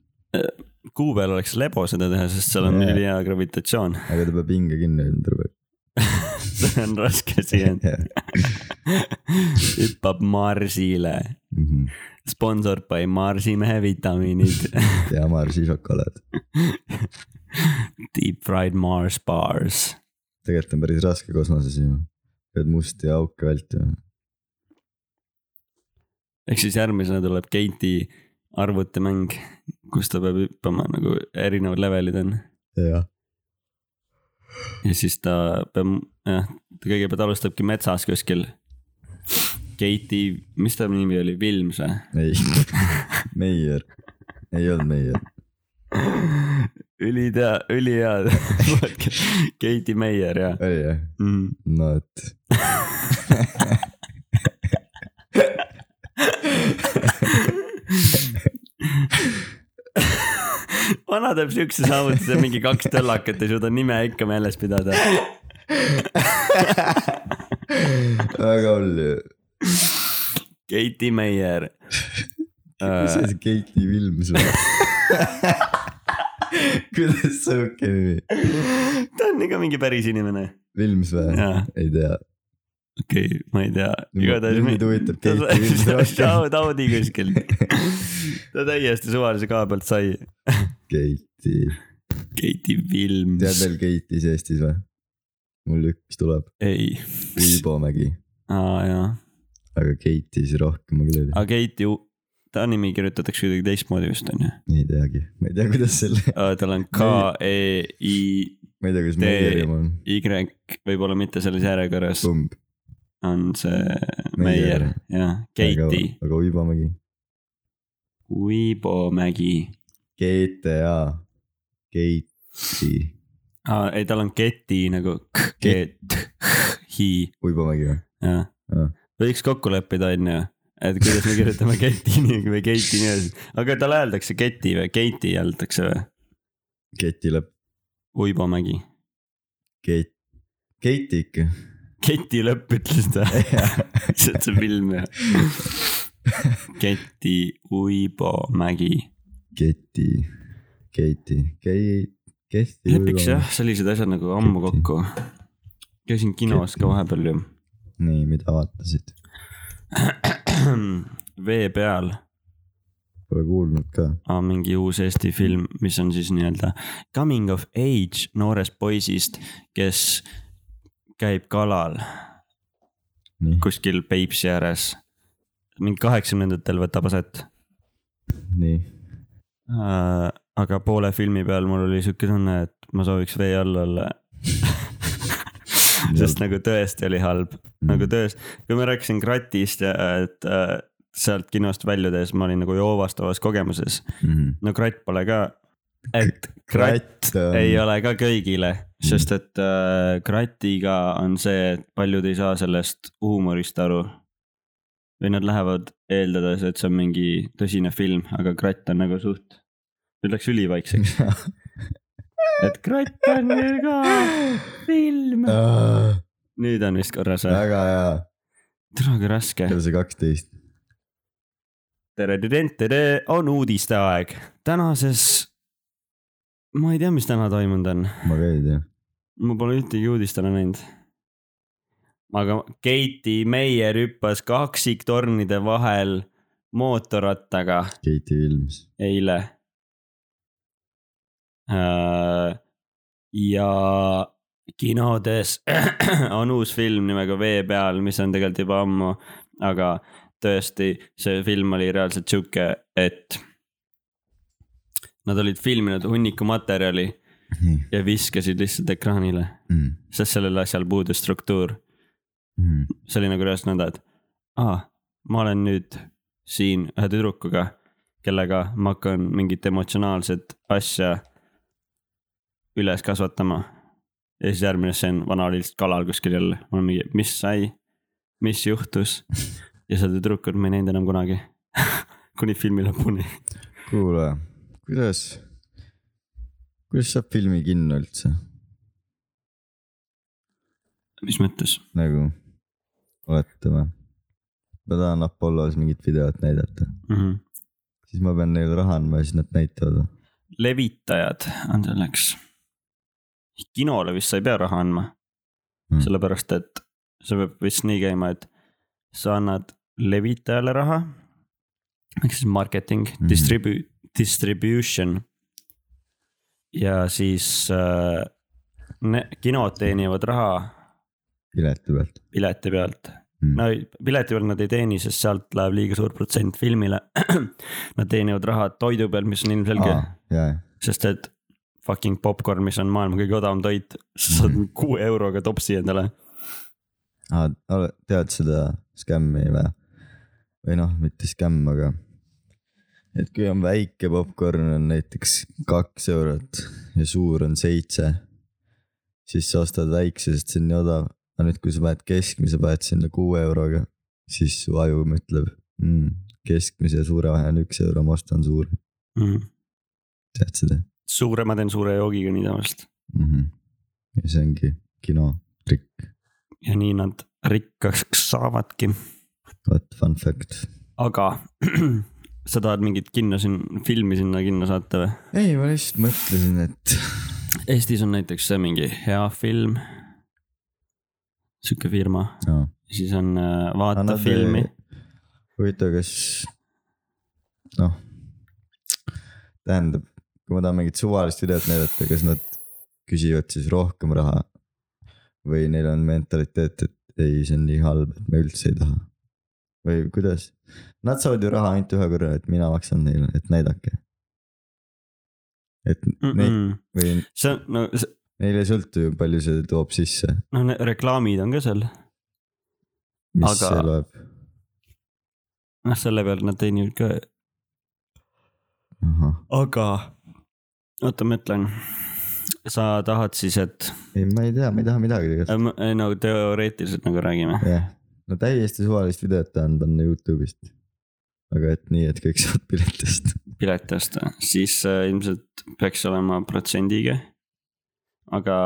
Speaker 2: kuu peal oleks lebo seda teha , sest seal on
Speaker 1: Jaa.
Speaker 2: ülihea gravitatsioon .
Speaker 1: aga ta peab hinge kinni hoidma , ta peab
Speaker 2: see on raske sisend . hüppab Marsile ,
Speaker 1: Mhm.
Speaker 2: sponsor by Marsimehe vitamiinid ,
Speaker 1: ja Marsi šokolaad .
Speaker 2: deep fried Mars bars .
Speaker 1: tegelikult on päris raske kosmoses ju . pead musti auke vältima .
Speaker 2: ehk siis järgmisena tuleb Keiti arvutimäng , kus ta peab hüppama nagu erinevad levelid on
Speaker 1: jah ,
Speaker 2: ja siis ta peab , jah , ta kõigepealt alustabki metsas kuskil . Keiti , mis ta nimi oli , Vilms või ?
Speaker 1: ei , Meier , ei olnud Meier .
Speaker 2: ülitea , ülihea , Keiti Meier ja
Speaker 1: oli jah ?
Speaker 2: mm. .
Speaker 1: no et .
Speaker 2: vana teeb siukse saavutuse , mingi kaks töllakat ei suuda nime ikka meeles pidada .
Speaker 1: väga hull ju .
Speaker 2: Keiti Meier .
Speaker 1: mis asi , Keiti Vilms või ? kuidas sihuke nimi ,
Speaker 2: ta on ikka mingi päris inimene .
Speaker 1: Vilms või ?
Speaker 2: jaa ,
Speaker 1: ei tea .
Speaker 2: okei okay, , ma ei tea , igatahes
Speaker 1: mind
Speaker 2: mi-
Speaker 1: huvitab
Speaker 2: ta
Speaker 1: Keiti Vilms rohkem .
Speaker 2: sai taudi kuskilt . ta täiesti suvalise koha pealt sai
Speaker 1: Keiti ,
Speaker 2: Keiti Vilms .
Speaker 1: tead veel Keitis Eestis või ? mul üks tuleb ,
Speaker 2: ei .
Speaker 1: Uibomägi ,
Speaker 2: aa jaa ,
Speaker 1: aga Keitis rohkem ma küll ei tea ,
Speaker 2: aga Keiti , ta nimi kirjutatakse kuidagi teistmoodi vist onju .
Speaker 1: ei teagi , ma ei tea , kuidas selle ,
Speaker 2: tal on K E I
Speaker 1: ma ei tea , kuidas
Speaker 2: Te-
Speaker 1: Meieri oma on ,
Speaker 2: Y , võib-olla mitte selles järjekorras
Speaker 1: kumb ,
Speaker 2: on see
Speaker 1: Meier.
Speaker 2: Meier , jah , Keiti ,
Speaker 1: aga Uibomägi ,
Speaker 2: Uibomägi .
Speaker 1: GTA , Keiti ,
Speaker 2: aa , ei tal on Keti nagu K , Ket , Hi ,
Speaker 1: Uibomägi või ?
Speaker 2: jah
Speaker 1: Jah. .
Speaker 2: võiks kokku leppida , onju , et kuidas me kirjutame Keti nii või Keiti nii , aga tal öeldakse Keti või Keiti öeldakse või ?
Speaker 1: Keiti lõpp ,
Speaker 2: Uibomägi .
Speaker 1: Keit , Keiti ikka ,
Speaker 2: Keti lõpp ütles ta , see on see film ju . Keti Uibomägi .
Speaker 1: Keiti , Keiti , Keit , Kesti .
Speaker 2: lepiks jah , sellised asjad nagu ammu
Speaker 1: Keti.
Speaker 2: kokku . käisin kinos ka vahepeal ju .
Speaker 1: nii , mida vaatasid ?
Speaker 2: vee peal
Speaker 1: Pole kuulnud ka ,
Speaker 2: on mingi uus Eesti film , mis on siis nii-öelda coming of age noorest poisist , kes käib kalal
Speaker 1: nii ,
Speaker 2: kuskil Peipsi ääres . mingi kaheksakümnendatel võtab aset .
Speaker 1: nii ,
Speaker 2: Äh, aga poole filmi peal mul oli sihuke tunne , et ma sooviks vee all olla . sest nagu tõesti oli halb , nagu tõest , kui ma rääkisin Kratist ja et äh, sealt kinost väljudes ma olin nagu joovastavas kogemuses .
Speaker 1: Mhm.
Speaker 2: no kratt pole ka , et
Speaker 1: Kratt
Speaker 2: kratt
Speaker 1: on-
Speaker 2: ei ole ka kõigile , sest et äh, kratiga on see , et paljud ei saa sellest huumorist aru . või nad lähevad eeldades , et see on mingi tõsine film , aga kratt on nagu suht , nüüd läks ülivaikseks , et kratt on ju ka film .
Speaker 1: Äh. väga
Speaker 2: nüüd on vist korras
Speaker 1: Äh.
Speaker 2: või ?
Speaker 1: Ah, hea ,
Speaker 2: täna on ka raske .
Speaker 1: kell sai kaksteist .
Speaker 2: tere , tere , on uudiste aeg . tänases , ma ei tea , mis täna toimunud on
Speaker 1: ma ka ei tea ,
Speaker 2: ma pole ühtegi uudist ära näinud . aga Keiti Meier hüppas kaksiktornide vahel mootorrattaga
Speaker 1: Keiti Vilms ,
Speaker 2: eile . Äh, ja kinodes on uus film nimega Vee peal , mis on tegelikult juba ammu , aga tõesti , see film oli reaalselt sihuke , et . Nad olid filminud hunniku materjali
Speaker 1: nii
Speaker 2: ja viskasid lihtsalt ekraanile
Speaker 1: mm. .
Speaker 2: sest sellel asjal puudus struktuur .
Speaker 1: Mm.
Speaker 2: see oli nagu reaalselt nõnda , et aa , ma olen nüüd siin ühe tüdrukuga , kellega ma hakkan mingit emotsionaalset asja üles kasvatama . ja siis järgmine stseen , vana oli lihtsalt kalal kuskil jälle , ma olen mingi , mis sai , mis juhtus ja seda tüdrukut ma ei näinud enam kunagi . kuni filmi lõpuni .
Speaker 1: kuule , kuidas , kuidas saab filmi kinno üldse ,
Speaker 2: mis mõttes ?
Speaker 1: nagu oletame , ma tahan Apollos mingit videot näidata ,
Speaker 2: Mm -hmm.
Speaker 1: siis ma pean neile raha andma ja siis nad näitavad .
Speaker 2: levitajad on selleks . kinole vist sa ei pea raha andma . mm. sellepärast et see peab vist nii käima, et sa annad levitajale raha. ehk siis marketing mm, -hmm. distribu-, distribution. ja siis äh, ne, kinod teenivad raha
Speaker 1: pileti pealt.
Speaker 2: pileti pealt mm. -hmm., no pileti pealt nad ei teeni, sest sealt läheb liiga suur protsent filmile. Nad teenivad raha toidu peal, mis on ilmselge
Speaker 1: ah,,
Speaker 2: sest et fucking popkorn, mis on maailma kõige odavam toit, sa saad kuue euroga topsi endale.
Speaker 1: tead seda skämmi või? või noh, mitte skämm, aga et kui on väike popkorn on näiteks kaks eurot ja suur on seitse, siis sa ostad väikse, sest see on nii odav. aga nüüd, kui sa paned keskmise, paned sinna kuue euroga, siis su aju mõtleb mm,, keskmise ja suure vahe on üks euro, ma ostan suure
Speaker 2: mm..
Speaker 1: tead seda?
Speaker 2: suure, ma teen suure joogiga nii tavaliselt
Speaker 1: mm. -hmm. ja see ongi kino trikk.
Speaker 2: ja nii nad rikkaks saavadki.
Speaker 1: vot fun fact.
Speaker 2: aga sa tahad mingit kinno siin, filmi sinna kinno saata või?
Speaker 1: ei, ma lihtsalt mõtlesin, et.
Speaker 2: Eestis on näiteks mingi hea film. sihuke firma
Speaker 1: no..
Speaker 2: siis on äh, Vaata Annab filmi.
Speaker 1: huvitav, kas, noh, tähendab kui ma tahan mingit suvalist videot näidata, kas nad küsivad siis rohkem raha? või neil on mentaliteet, et ei, see on nii halb, et me üldse ei taha. või kuidas? Nad saavad ju raha ainult ühe korra, et mina maksan neile, et näidake. et mm -mm. neid või.
Speaker 2: see on, no see....
Speaker 1: Neile ei sõltu ju, palju see toob sisse.
Speaker 2: noh, reklaamid on ka seal.
Speaker 1: mis Aga... see loeb?
Speaker 2: noh, selle peal nad teenivad ka. aga oota, ma ütlen. sa tahad siis, et? äh,
Speaker 1: ei, ma ei tea, ma ei taha midagi tegelikult.
Speaker 2: ei no teoreetiliselt nagu räägime.
Speaker 1: jah yeah., no täiesti suvalist videot tahan panna Youtube'ist. aga et nii, et kõik saavad piletist.
Speaker 2: piletist, siis äh, ilmselt peaks olema protsendiga. aga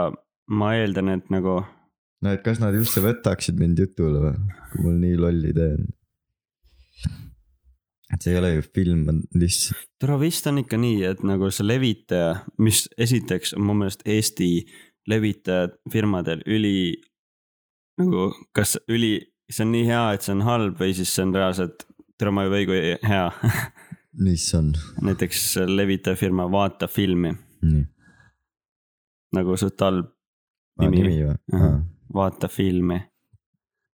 Speaker 2: ma eeldan, et nagu.
Speaker 1: no et kas nad üldse võtaksid mind jutule või, kui mul nii loll idee on et see ei ole ju film, on lihtsalt.
Speaker 2: tore vist on ikka nii, et nagu see levitaja, mis esiteks on mu meelest Eesti levitajad firmadel üli. nagu kas üli, see on nii hea, et see on halb või siis see on reaalselt, tere ma ei või kui hea
Speaker 1: mis on?
Speaker 2: näiteks levitaja firma Vaata filmi
Speaker 1: mm..
Speaker 2: nagu suht halb
Speaker 1: ah,. nimi või ah.?
Speaker 2: vaata filmi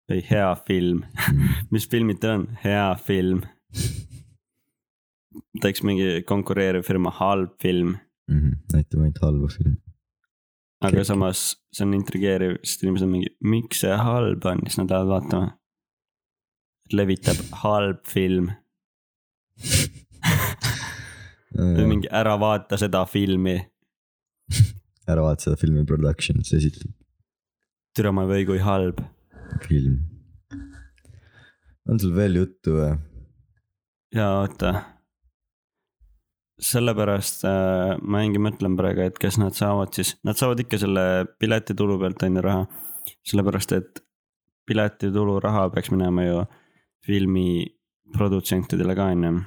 Speaker 2: või hea film
Speaker 1: Mhm.
Speaker 2: mis filmid teil on? hea film teeks mingi konkureeriv firma halb film
Speaker 1: mm. -hmm. näitame ainult halba filmi.
Speaker 2: aga Kek. samas see on intrigeeriv, sest inimesed on mingi, miks see halb on, siis nad lähevad vaatama. levitab halb film või mingi ära vaata seda filmi
Speaker 1: ära vaata seda filmi productions esitab.
Speaker 2: türa ma ei või, kui halb.
Speaker 1: film. on sul veel juttu või?
Speaker 2: ja oota. sellepärast äh, ma jäingi mõtlema praegu, et kas nad saavad siis, nad saavad ikka selle piletitulu pealt on ju raha. sellepärast, et piletitulu raha peaks minema ju filmi produtsentidele ka on ju.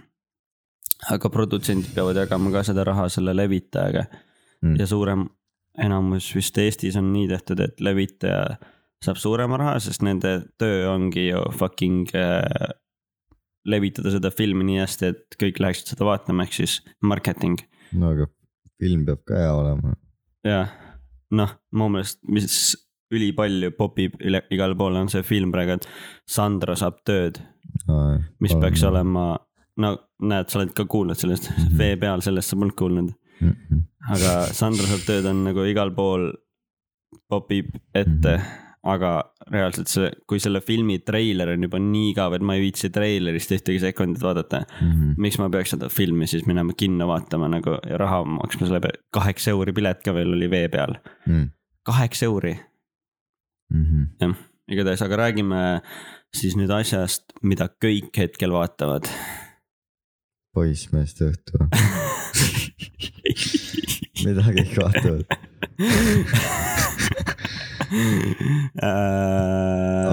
Speaker 2: aga produtsendid peavad jagama ka seda raha selle levitajaga mm. ja suurem enamus vist Eestis on nii tehtud, et levitaja saab suurema raha, sest nende töö ongi ju fucking äh, levitada seda filmi nii hästi, et kõik läheksid seda vaatama, ehk siis marketing.
Speaker 1: no aga film peab ka hea olema.
Speaker 2: jah, noh, mu meelest, mis ülipalju popib üle igale poole, on see film praegu, et Sandra saab tööd
Speaker 1: no,.
Speaker 2: mis olen. peaks olema, no näed, sa oled ka kuulnud sellest mm, -hmm. vee peal sellest sa polnud kuulnud
Speaker 1: mm. -hmm.
Speaker 2: aga Sandra saab tööd on nagu igal pool popib ette mm. -hmm aga reaalselt see, kui selle filmi treiler on juba nii igav, et ma ei viitsi treilerist ühtegi sekundit vaadata mm. -hmm.
Speaker 1: mhm,
Speaker 2: miks ma peaks seda filmi siis minema kinno vaatama nagu ja raha maksma selle peale, kaheksa euri pilet ka veel oli vee peal
Speaker 1: mm..
Speaker 2: kaheksa euri
Speaker 1: mm -hmm..
Speaker 2: jah, igatahes, aga räägime siis nüüd asjast, mida kõik hetkel vaatavad.
Speaker 1: poissmeeste õhtu mida kõik vaatavad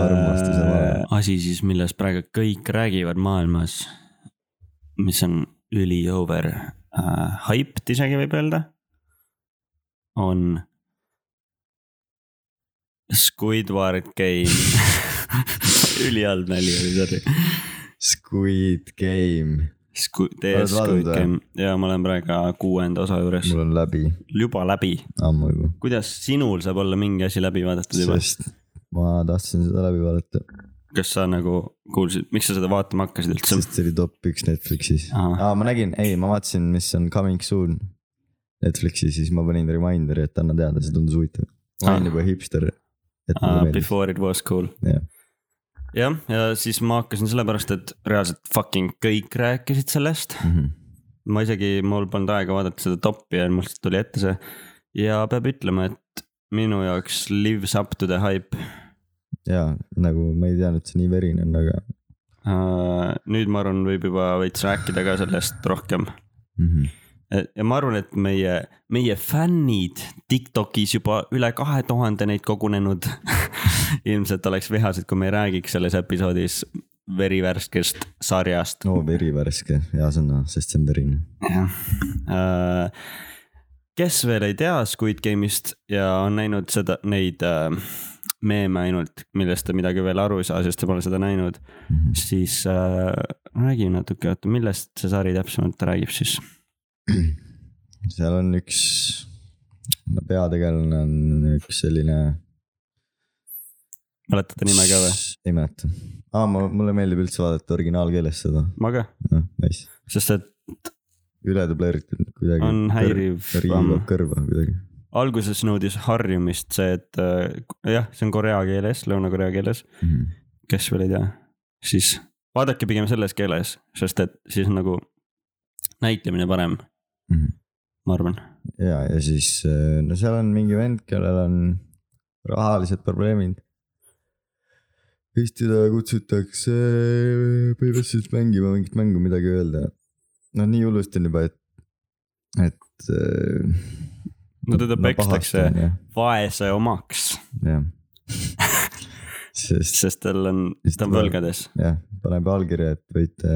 Speaker 1: armastuse
Speaker 2: vale. Äh, asi siis, millest praegu kõik räägivad maailmas, mis on üli over uh,, hyped isegi võib öelda, on Squidward Game ülihalb nali oli , sorry .
Speaker 1: Squid Game ,
Speaker 2: Squid ,
Speaker 1: Oled
Speaker 2: TS Squid
Speaker 1: vaadanud või?
Speaker 2: Game ja ma olen praegu kuuenda osa juures ,
Speaker 1: mul on läbi
Speaker 2: juba läbi .
Speaker 1: ammu juba ,
Speaker 2: kuidas sinul saab olla mingi asi läbi vaadatud juba ?
Speaker 1: sest ma tahtsin seda läbi vaadata ,
Speaker 2: kas sa nagu kuulsid , miks sa seda vaatama hakkasid üldse ?
Speaker 1: sest see oli top üks Netflixis .
Speaker 2: ahah ,
Speaker 1: aa , ma nägin , ei , ma vaatasin , mis on coming soon Netflixis , siis ma panin reminder'i , et anna teada , see tundus huvitav . ma
Speaker 2: Ah.
Speaker 1: olen juba hipster . et
Speaker 2: Ah,
Speaker 1: mulle meeldis .
Speaker 2: Before it was cool .
Speaker 1: Jah.
Speaker 2: jah , ja siis ma hakkasin sellepärast , et reaalselt fucking kõik rääkisid sellest .
Speaker 1: Mhm.
Speaker 2: ma isegi , mul polnud aega vaadata seda topi ja mul lihtsalt tuli ette see . ja peab ütlema , et minu jaoks lives up to the hype
Speaker 1: jaa , nagu ma ei teadnud , et see nii verine on , aga
Speaker 2: uh, . nüüd ma arvan , võib juba veits rääkida ka sellest rohkem .
Speaker 1: mhm.
Speaker 2: ja ma arvan , et meie , meie fännid Tiktokis juba üle kahe tuhande neid kogunenud . ilmselt oleks vihased , kui me ei räägiks selles episoodis verivärskest sarjast .
Speaker 1: no verivärske , hea sõna , sest see on verine .
Speaker 2: jah . Äh, kes veel ei tea Squid Game'ist ja on näinud seda , neid äh, meeme ainult , millest te midagi veel aru ei saa , sest te pole seda näinud , siis äh, räägi natuke , oota , millest see sari täpsemalt räägib siis ?
Speaker 1: seal on üks , no peategelane on üks selline .
Speaker 2: mäletate nime ka või ??
Speaker 1: ei mäleta . aa , ma , mulle meeldib üldse vaadata originaalkeeles seda ,
Speaker 2: ma ka ,
Speaker 1: noh , nice .
Speaker 2: sest et
Speaker 1: üle dubleeritud kuidagi .
Speaker 2: on häiriv .
Speaker 1: riivab kõrva kuidagi .
Speaker 2: alguses nõudis harjumist see , et äh, jah , see on korea keeles , Lõuna-Korea keeles , kes veel ei tea , siis vaadake pigem selles keeles , sest et siis on nagu näitlemine parem , ma arvan .
Speaker 1: ja , ja siis äh, no seal on mingi vend , kellel on rahalised probleemid . siis teda kutsutakse põhimõtteliselt mängima mingit mängu , midagi öelda . no nii hullusti on juba , et , et . äh,
Speaker 2: No teda pekstakse. . vaese omaks ,
Speaker 1: jah , sest
Speaker 2: sest tal on ,
Speaker 1: Siis
Speaker 2: ta on
Speaker 1: tuleb-
Speaker 2: võlgades .
Speaker 1: jah , paneb allkirja , et võite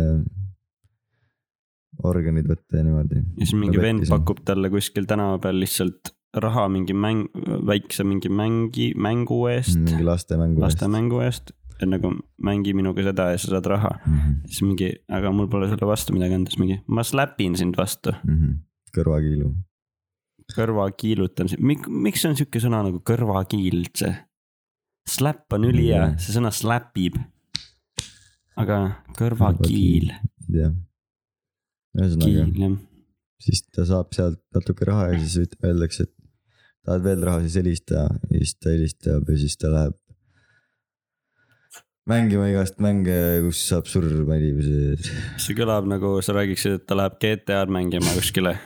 Speaker 1: organid võtta ja niimoodi .
Speaker 2: ja siis mingi vend . pakub talle kuskil tänava peal lihtsalt raha mingi mäng , väikse mingi mängi , mängu eest ,
Speaker 1: mingi lastemängu .
Speaker 2: laste mängu eest . et nagu mängi minuga seda ja sa saad raha .
Speaker 1: mängu .
Speaker 2: siis mingi , aga mul pole selle vastu midagi anda , siis mingi , ma slapin sind vastu ,
Speaker 1: kõrvakiilu .
Speaker 2: kõrva kiilutan sind . Mik, . miks on sihuke sõna nagu kõrvakiil üldse ? Slap on ülihea ,
Speaker 1: Mhm.
Speaker 2: see sõna slapib . aga kõrvakiil ,
Speaker 1: ei tea . ühesõnaga ,
Speaker 2: kiil jah .
Speaker 1: siis ta saab sealt natuke raha ja siis üt- öeldakse , et tahad veel raha , siis helista ja siis ta helistab ja siis ta läheb mängima igast mänge , kus saab surma inimesi .
Speaker 2: see kõlab nagu sa räägiksid , et ta läheb GTA-d mängima kuskile .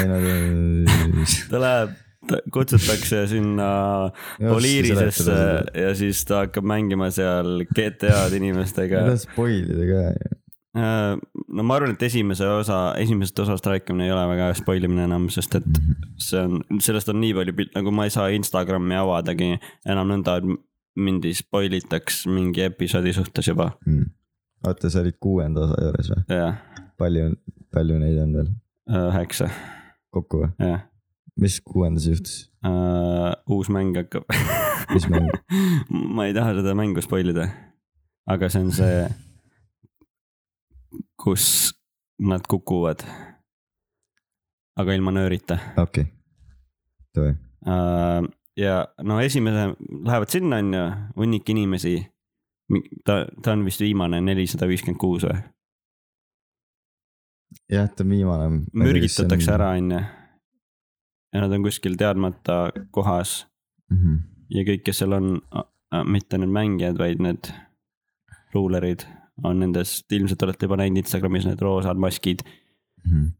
Speaker 1: ei no ta .
Speaker 2: ta läheb , ta kutsutakse sinna Poliirisesse ja siis ta hakkab mängima seal GTA-d inimestega .
Speaker 1: ära spoil ida ka ju .
Speaker 2: Äh, no ma arvan , et esimese osa , esimesest osast rääkimine ei ole väga spoil imine enam , sest et see on , sellest on nii palju pilt- , nagu ma ei saa Instagrami avadagi enam nõnda , et mind ei spoil itaks mingi episoodi suhtes juba ,
Speaker 1: mm. . oota , sa olid kuuenda osa juures või ?
Speaker 2: jah ,
Speaker 1: palju , palju neid on veel
Speaker 2: üheksa ,
Speaker 1: kokku või ?
Speaker 2: jah .
Speaker 1: mis kuuendas juhtus ?
Speaker 2: uus mäng hakkab .
Speaker 1: Mis mäng? ?
Speaker 2: ma ei taha seda mängu spoil ida , aga see on see , kus nad kukuvad . aga ilma nöörita
Speaker 1: okei okay. , tore .
Speaker 2: Äh, ja no esimese , lähevad sinna on ju , hunnik inimesi . ta , ta on vist viimane , nelisada viiskümmend kuus või ?
Speaker 1: jah , ta on viimane .
Speaker 2: mürgitatakse ära , on ju . ja nad on kuskil teadmata kohas
Speaker 1: mm . -hmm.
Speaker 2: ja kõik , kes seal on , mitte need mängijad , vaid need luulerid on nendest , ilmselt olete juba näinud Instagramis need roosad maskid .
Speaker 1: Mm -hmm.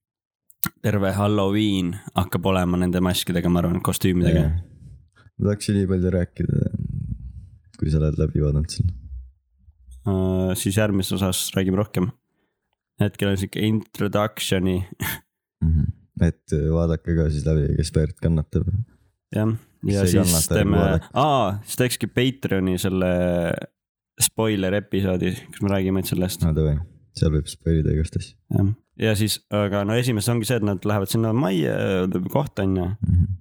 Speaker 2: terve Halloween hakkab olema nende maskidega , ma arvan , kostüümidega .
Speaker 1: ma tahaks nii palju rääkida , kui sa oled läbi vaadanud selle .
Speaker 2: Äh, siis järgmises osas räägime rohkem . hetkel on sihuke introduction'i ,
Speaker 1: Mhm. et äh, vaadake ka siis läbi , kes verd kannatab .
Speaker 2: jah . ja
Speaker 1: See
Speaker 2: siis
Speaker 1: kannata
Speaker 2: teeme
Speaker 1: nagu vaadata. ,
Speaker 2: aa , siis teekski Patreon'i selle spoiler episoodi , kus me räägime nüüd sellest ,
Speaker 1: no Ah, davai , seal võib spoil ida igast asju
Speaker 2: jah . ja siis , aga no esimeses ongi see , et nad lähevad sinna majja , kohta on ju ,
Speaker 1: mm . -hmm.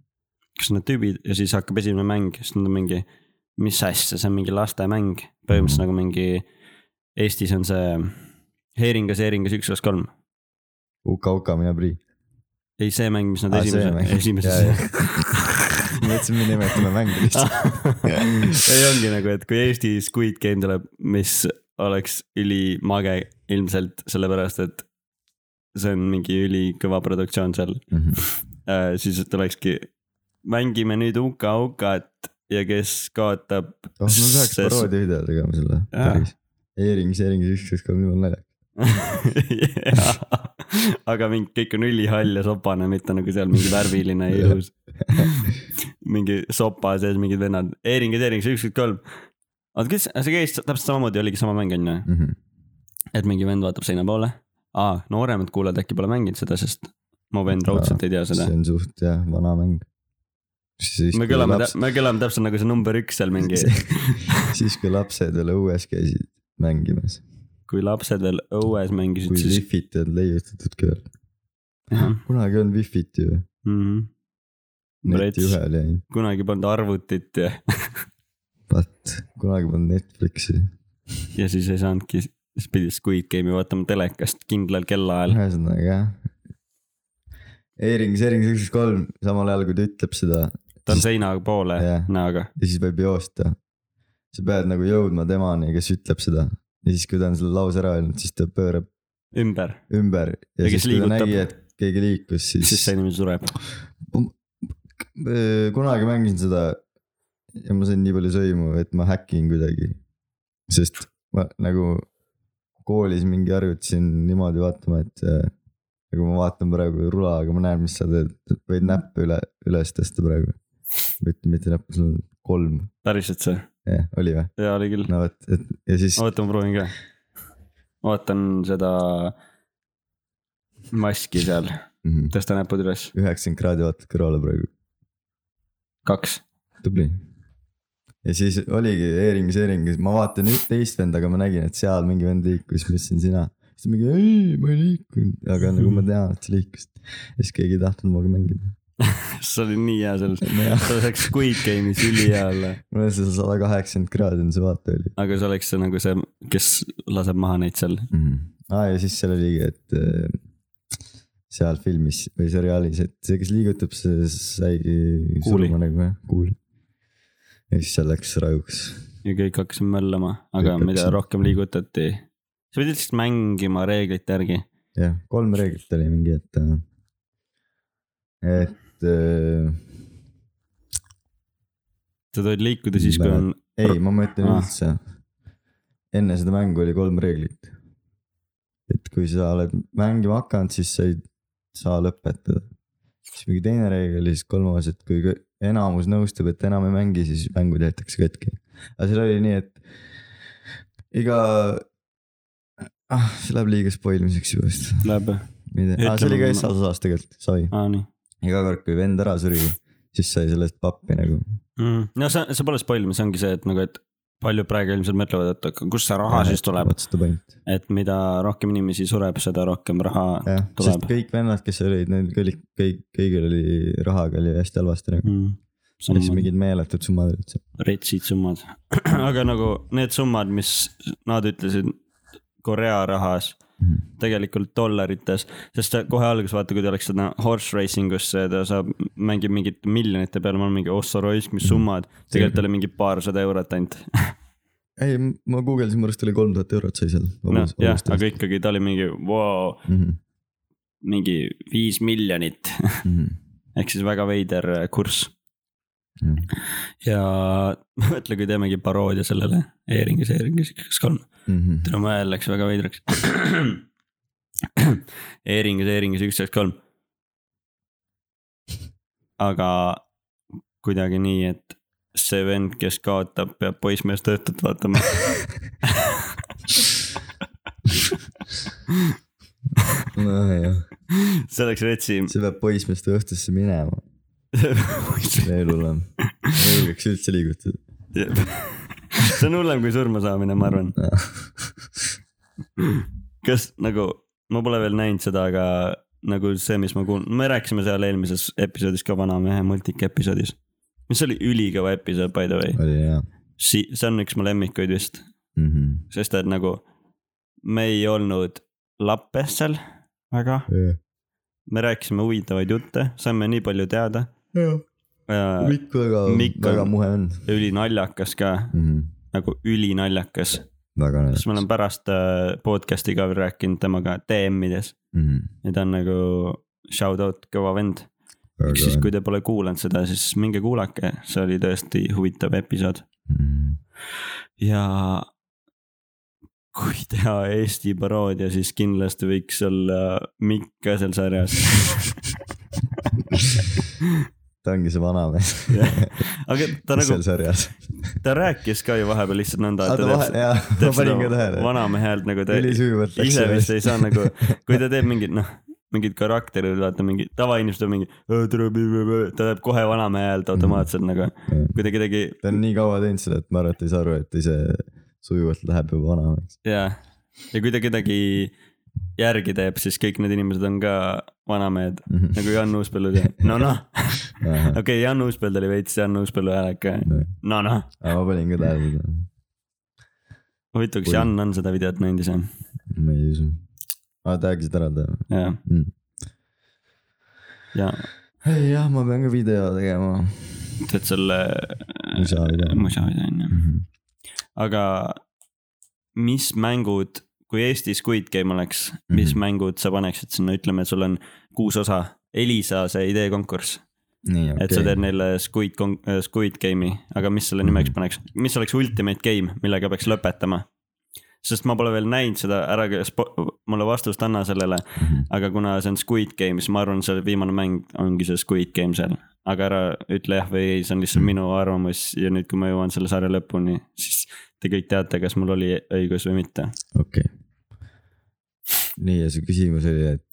Speaker 2: kus on need tüübid ja siis hakkab esimene mäng , siis nad on mingi mis asja, see on mingi lastemäng, põhimõtteliselt
Speaker 1: Mhm.
Speaker 2: nagu mingi. Eestis on see heeringas, heeringas üks, kaks, kolm.
Speaker 1: Uka Uka , mine prii .
Speaker 2: ei , see mäng , mis nad
Speaker 1: Aa, Ah, see
Speaker 2: esimese ,
Speaker 1: mäng.
Speaker 2: esimeses .
Speaker 1: mõtlesin , me nimetame mängu lihtsalt .
Speaker 2: ei ongi nagu , et kui Eesti Squid Game tuleb , mis oleks ülimage ilmselt sellepärast , et see on mingi ülikõva produktsioon seal ,
Speaker 1: Mhm.
Speaker 2: siis tulekski . mängime nüüd Uka Ukat ja kes kaotab .
Speaker 1: oh , ma peaks paroodia video tegema selle ,
Speaker 2: Jaa.
Speaker 1: päris . E-ringis , E-ringis üks , kaks , kolm , nii on naljakas .
Speaker 2: Jaa. aga mingi kõik on ülihall ja sopane , mitte nagu seal mingi värviline ja ilus . mingi sopa sees mingid vennad , E-ringid , E-ringid , ükskõik kolm . oota , kes , see käis täpselt samamoodi , oligi sama mäng on ju ,
Speaker 1: Mhm.
Speaker 2: et mingi vend vaatab seina poole . aa , nooremad kuulajad äkki pole mänginud seda , sest mu vend raudselt ei tea seda
Speaker 1: see . on suht jah , vana mäng .
Speaker 2: me kõlame , me kõlame täpselt nagu see number üks seal mingi ,
Speaker 1: siis kui lapsed veel õues käisid mängimas ,
Speaker 2: kui lapsed veel õues mängisid ,
Speaker 1: kui
Speaker 2: siis .
Speaker 1: wifi't ei olnud leiutatud ka veel . kunagi ei olnud wifi't ju , neti
Speaker 2: mhm. Rets.
Speaker 1: ühel jäi ,
Speaker 2: kunagi polnud arvutit ja ,
Speaker 1: vaat , kunagi polnud Netflixi .
Speaker 2: ja siis ei saanudki , siis pidi Squid Game'i vaatama telekast kindlal kellaajal .
Speaker 1: ühesõnaga jah . E-ringis , E-ringis üks , üks , kolm , samal ajal kui ta ütleb seda
Speaker 2: ta on seina poole
Speaker 1: Jah.
Speaker 2: näoga .
Speaker 1: ja siis võib joosta . sa pead nagu jõudma temani , kes ütleb seda ja siis , kui ta on selle lause ära öelnud , siis ta pöörab
Speaker 2: ümber ,
Speaker 1: ümber ja,
Speaker 2: Ja
Speaker 1: ja
Speaker 2: kes
Speaker 1: siis kui ta
Speaker 2: liigutab.
Speaker 1: nägi , et keegi liikus , siis,
Speaker 2: siis see inimene sureb .
Speaker 1: Öö, Äh, kunagi mängisin seda ja ma sain nii palju sõimu , et ma häkkin kuidagi . sest ma nagu koolis mingi harjutasin niimoodi vaatama , et äh, nagu ma vaatan praegu rula , aga ma näen , mis sa teed , võid näppe üle , üles tõsta praegu . mitte , mitte näppu , sul on kolm ,
Speaker 2: päriselt see ?
Speaker 1: jah , oli või ?
Speaker 2: jaa , oli küll .
Speaker 1: no vot , et ja siis
Speaker 2: oota , ma proovin ka . vaatan seda maski seal ,
Speaker 1: mhm,
Speaker 2: tõsta näpud üles ,
Speaker 1: üheksakümmend kraadi vaatad kõrvale praegu ,
Speaker 2: kaks .
Speaker 1: tubli . ja siis oligi E-ringis , E-ringis , ma vaatan üht teist venda , aga ma nägin , et seal mingi vend liikus , mis siin sina . siis ta mingi ei , ma ei liikunud , aga nagu ma tean , et sa liikusid . ja siis keegi ei tahtnud minuga mängida .
Speaker 2: see oli nii hea seal ,
Speaker 1: Nojah.
Speaker 2: see oleks Squid Game'is ülihea olla ,
Speaker 1: mul oli see sada kaheksakümmend kraadi on see vaate oli
Speaker 2: aga see oleks see nagu see , kes laseb maha neid seal .
Speaker 1: mm. . aa ja siis seal oligi , et äh, seal filmis või seriaalis , et see , kes liigutab , see saigi
Speaker 2: Kuuli.
Speaker 1: surma nagu jah , kuuli . ja siis seal läks rajuks
Speaker 2: ja kõik hakkasid möllama , aga
Speaker 1: Kõik
Speaker 2: mida
Speaker 1: hakkasid-
Speaker 2: rohkem liigutati , sa pidid lihtsalt mängima reeglite järgi .
Speaker 1: jah , kolm reeglit oli mingi , et , et äh,
Speaker 2: sa tohid liikuda siis , kui on ,
Speaker 1: ei , ma mõtlen
Speaker 2: Ah.
Speaker 1: üldse . enne seda mängu oli kolm reeglit . et kui sa oled mängima hakanud , siis sa ei saa lõpetada . siis mingi teine reegel ja siis kolmas , et kui kõ- enamus nõustub , et enam ei mängi , siis mängu tehtakse katki . aga seal oli nii , et iga , ah , see läheb liiga spoilimiseks juba vist .
Speaker 2: läheb ,
Speaker 1: Ah, see oli ka
Speaker 2: Ütleme-
Speaker 1: esmaspäevas osas tegelikult , sai .
Speaker 2: aa nii
Speaker 1: iga kord , kui vend ära suri , siis sai sellest pappi nagu .
Speaker 2: mm. . no see , see pole spoilimine , see ongi see , et nagu , et paljud praegu ilmselt mõtlevad , et aga kust see raha siis tuleb ,
Speaker 1: otsustab ainult .
Speaker 2: et mida rohkem inimesi sureb , seda rohkem raha
Speaker 1: jah , sest
Speaker 2: tuleb.
Speaker 1: kõik vennad , kes olid , neil kõik , kõik , kõigil oli rahaga oli hästi halvasti nagu .
Speaker 2: mm. .
Speaker 1: ja siis mingid meeletud summad üldse .
Speaker 2: retsid summad , aga nagu need summad , mis nad ütlesid Korea rahas
Speaker 1: Mhm.
Speaker 2: tegelikult dollarites , sest ta kohe alguses vaata , kui ta oleks seda horse racing us , ta saab , mängib mingite miljonite peale , ma olen mingi ossa raisk ,
Speaker 1: Mhm.
Speaker 2: mis summad . tegelikult oli mingi paarsada eurot ainult ,
Speaker 1: ei , ma guugeldasin , mu arust oli kolm tuhat eurot sai seal . Mhm,
Speaker 2: noh jah , aga ikkagi ta oli mingi vau , mingi viis miljonit ,
Speaker 1: mhm,
Speaker 2: ehk siis väga veider kurss . ja mõtle , kui teemegi paroodia sellele E-ringis , E-ringis üks , kaks , kolm .
Speaker 1: Mhm,
Speaker 2: täna mu hääl läks väga veidraks . E-ringis , E-ringis üks , kaks , kolm . aga kuidagi nii , et see vend , kes kaotab , peab poissmeest õhtut vaatama .
Speaker 1: mhm. nojah ,
Speaker 2: see oleks retsi .
Speaker 1: see peab poissmeeste õhtusse minema , veel hullem . ei julgeks üldse liigutada .
Speaker 2: see on hullem kui surma saamine , ma arvan . kas nagu , ma pole veel näinud seda , aga nagu see , mis ma kuulnud , me rääkisime seal eelmises episoodis ka vanamehe multika episoodis . mis oli ülikõva episood by the way .
Speaker 1: oli hea ,
Speaker 2: si- , see on üks mu lemmikuid vist ,
Speaker 1: mm . -hmm.
Speaker 2: sest et nagu me ei olnud lappes seal väga ,
Speaker 1: Yeah.
Speaker 2: me rääkisime huvitavaid jutte , saime nii palju teada .
Speaker 1: Yeah. Mikk väga
Speaker 2: Mikk , on-
Speaker 1: väga muhe on
Speaker 2: ülinaljakas ka ,
Speaker 1: mm . -hmm.
Speaker 2: nagu ülinaljakas ,
Speaker 1: väga
Speaker 2: sest
Speaker 1: naljakas
Speaker 2: ma olen pärast äh, podcast'i ka veel rääkinud temaga DM-ides
Speaker 1: mm . -hmm.
Speaker 2: ja ta on nagu shout out kõva vend . ehk siis , kui te pole kuulanud seda , siis minge kuulake , see oli tõesti huvitav episood
Speaker 1: mm
Speaker 2: ja kui teha Eesti paroodia , siis kindlasti võiks olla Mikk ka seal sarjas .
Speaker 1: -hmm. ta ongi see vanamees
Speaker 2: aga ta nagu
Speaker 1: seal , sarjas .
Speaker 2: ta rääkis ka ju vahepeal lihtsalt nõnda ,
Speaker 1: aga
Speaker 2: et
Speaker 1: ta
Speaker 2: ta
Speaker 1: vahe ,
Speaker 2: teeb ,
Speaker 1: jaa , ma
Speaker 2: teeb
Speaker 1: panin ka
Speaker 2: seda
Speaker 1: tähele .
Speaker 2: vanamehe häält nagu ta
Speaker 1: ülisujuvalt läks
Speaker 2: ise vist ei saa nagu , kui ta teeb mingit noh , mingit karakterit , vaata mingi tavainimesed on mingi , ta teeb kohe vanamehe häält automaatselt nagu ,
Speaker 1: ta
Speaker 2: kui ta kedagi
Speaker 1: on nii kaua teinud seda , et ma arvan , et ta ei saa aru , et ta ise sujuvalt läheb juba vanamaks .
Speaker 2: jaa , ja kui ta kedagi järgi teeb , siis kõik need inimesed on ka vanamehed ,
Speaker 1: Mhm.
Speaker 2: nagu Jan Uuspõllu see , no noh , okei okay, , Jan Uuspõld oli veits Jan Uuspõllu hääleke , no noh .
Speaker 1: aga ma panin ka tähele seda ,
Speaker 2: huvitav , kas
Speaker 1: Oi.
Speaker 2: Jan on seda videot näinud ise ?
Speaker 1: ma ei usu . aa , tag'isid ära ta
Speaker 2: jaa ,
Speaker 1: mm. ?
Speaker 2: ja
Speaker 1: ei jah , ma pean ka video tegema .
Speaker 2: teed selle . Äh,
Speaker 1: Musa video. Mhm.
Speaker 2: musavideo on ju , aga mis mängud , kui Eestis Squid Game oleks , mis
Speaker 1: Mhm.
Speaker 2: mängud sa paneksid sinna , ütleme , et sul on kuus osa , Elisa see ideekonkurss .
Speaker 1: nii ,
Speaker 2: et sa
Speaker 1: okei
Speaker 2: teed . neile Squid , Squid Game'i , aga mis selle nimeks paneks , mis oleks ultimate game , millega peaks lõpetama ? sest ma pole veel näinud seda , ära spo- mulle vastust anna sellele ,
Speaker 1: Mhm.
Speaker 2: aga kuna see on Squid Game , siis ma arvan , see viimane mäng ongi see Squid Game seal . aga ära ütle jah või ei , see on lihtsalt
Speaker 1: Mhm.
Speaker 2: minu arvamus ja nüüd , kui ma jõuan selle sarja lõpuni , siis te kõik teate , kas mul oli õigus või mitte .
Speaker 1: okei . nii , ja see küsimus oli , et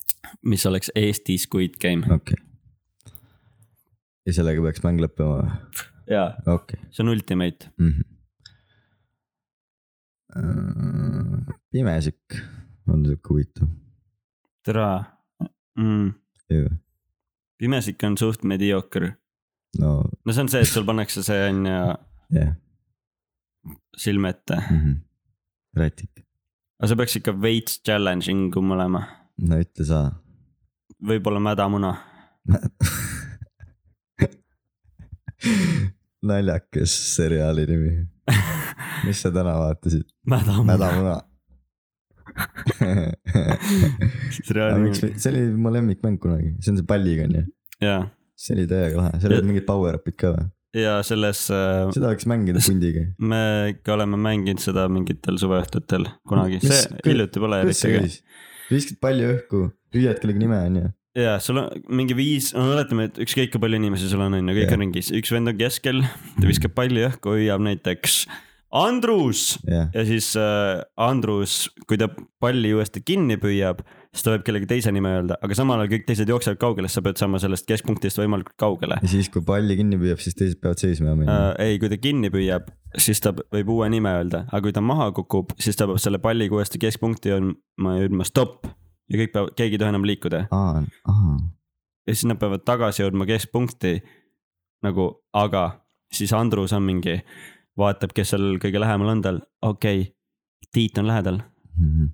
Speaker 2: mis oleks Eesti Squid Game ?
Speaker 1: okei okay. . ja sellega peaks mäng lõppema või ?
Speaker 2: jaa ,
Speaker 1: okei Mhm.
Speaker 2: see on ultimate ,
Speaker 1: okay. . Äh, pimesik on sihuke huvitav .
Speaker 2: tere mm. . pimesik on suht mediooker
Speaker 1: no
Speaker 2: no see on see , et sul pannakse see on ju
Speaker 1: jah
Speaker 2: silme ette ,
Speaker 1: mm -hmm. , rätik ,
Speaker 2: aga see peaks ikka veits challenging um olema ,
Speaker 1: no ütle sa .
Speaker 2: võib-olla mädamuna .
Speaker 1: naljakas seriaali nimi . mis sa täna vaatasid ?
Speaker 2: mädamuna ,
Speaker 1: mädamuna .
Speaker 2: see reaalne ,
Speaker 1: see oli mu lemmikmäng kunagi , see on see palliga onju ,
Speaker 2: ja ,
Speaker 1: see oli täiega lahe , seal olid mingid power-up'id ka või ?
Speaker 2: ja selles äh,
Speaker 1: seda võiks mängida pundiga .
Speaker 2: me ikka oleme mänginud seda mingitel suveõhtutel kunagi ,
Speaker 1: Mis-
Speaker 2: see
Speaker 1: kui-
Speaker 2: hiljuti pole
Speaker 1: kuidas see
Speaker 2: eriti .
Speaker 1: käis ? viskad palli õhku , hüüad kellegi nime onju .
Speaker 2: ja sul on mingi viis , no oletame , et ükskõik kui palju inimesi sul on , on ju , kõik
Speaker 1: Jah.
Speaker 2: on ringis , üks vend on keskel , ta viskab palli õhku , hüüab näiteks Andrus
Speaker 1: jah ,
Speaker 2: ja siis äh, Andrus , kui ta palli uuesti kinni püüab , siis ta võib kellegi teise nime öelda , aga samal ajal kõik teised jooksevad kaugele , siis sa pead saama sellest keskpunktist võimalikult kaugele
Speaker 1: ja siis , kui palli kinni püüab , siis teised peavad seisma ja minema
Speaker 2: äh, . ei , kui ta kinni püüab , siis ta võib uue nime öelda , aga kui ta maha kukub , siis ta peab selle palliga uuesti keskpunkti jõudma ja ütlema stopp . ja kõik peavad , keegi ei tohi enam liikuda
Speaker 1: aa , aa ,
Speaker 2: ja siis nad peavad tagasi jõudma keskpunkti . nagu , aga siis Andrus on mingi , vaatab , kes seal kõige lähemal on tal , okei okay, , Tiit on lähedal ,
Speaker 1: Mhm.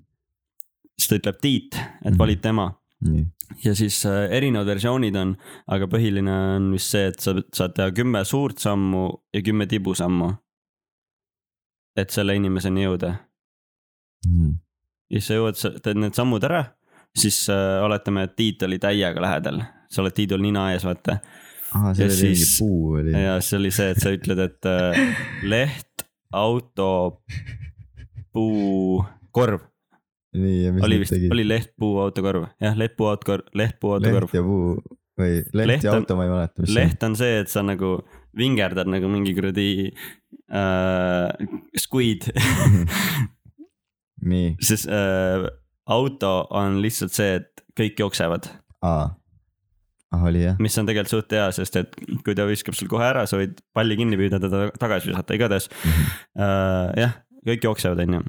Speaker 2: siis ta ütleb Tiit , et valid tema
Speaker 1: nii ,
Speaker 2: ja siis äh, erinevad versioonid on , aga põhiline on vist see , et sa saad teha kümme suurt sammu ja kümme tibusammu . et selle inimeseni jõuda
Speaker 1: nii ,
Speaker 2: ja siis sa jõuad , teed need sammud ära , siis äh, oletame , et Tiit oli täiega lähedal , sa oled Tiidul nina ees , vaata .
Speaker 1: aa ,
Speaker 2: Ja
Speaker 1: seal oli mingi
Speaker 2: siis-
Speaker 1: puu oli .
Speaker 2: ja siis oli see , et sa ütled , et äh, leht , auto , puu , korv
Speaker 1: nii , ja mis
Speaker 2: oli
Speaker 1: nad
Speaker 2: vist ,
Speaker 1: tegid ?
Speaker 2: oli leht , puu , auto , korv , jah , leht , puu , auto , korv , leht , puu , auto , korv
Speaker 1: leht . ja puu või leht
Speaker 2: Leht
Speaker 1: ja
Speaker 2: on-
Speaker 1: auto , ma ei mäleta , mis see on .
Speaker 2: leht on see , et sa nagu vingerdad nagu mingi kuradi äh, squid ,
Speaker 1: nii ,
Speaker 2: siis äh, auto on lihtsalt see , et kõik jooksevad ,
Speaker 1: aa , aa oli jah ,
Speaker 2: mis on tegelikult suht hea , sest et kui ta viskab sul kohe ära , sa võid palli kinni püüda , teda tagasi visata , igatahes
Speaker 1: Mhm.
Speaker 2: äh, jah , kõik jooksevad , onju .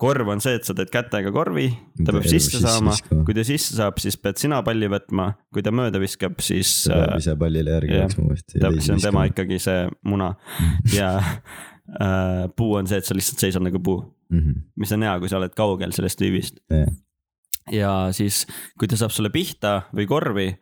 Speaker 2: korv on see , et sa teed kätega korvi , ta peab sisse saama , kui ta sisse saab , siis pead sina palli võtma , kui ta mööda viskab , siis
Speaker 1: sa
Speaker 2: äh,
Speaker 1: pead ise pallile järgi
Speaker 2: jah,
Speaker 1: jooksma uuesti .
Speaker 2: täpselt , see on tema . ikkagi see muna ja äh, puu on see, et sa lihtsalt seisad nagu puu
Speaker 1: mm . -hmm.
Speaker 2: mis on hea , kui sa oled kaugel sellest tüübist .
Speaker 1: Yeah.
Speaker 2: ja siis , kui ta saab sulle pihta või korvi ,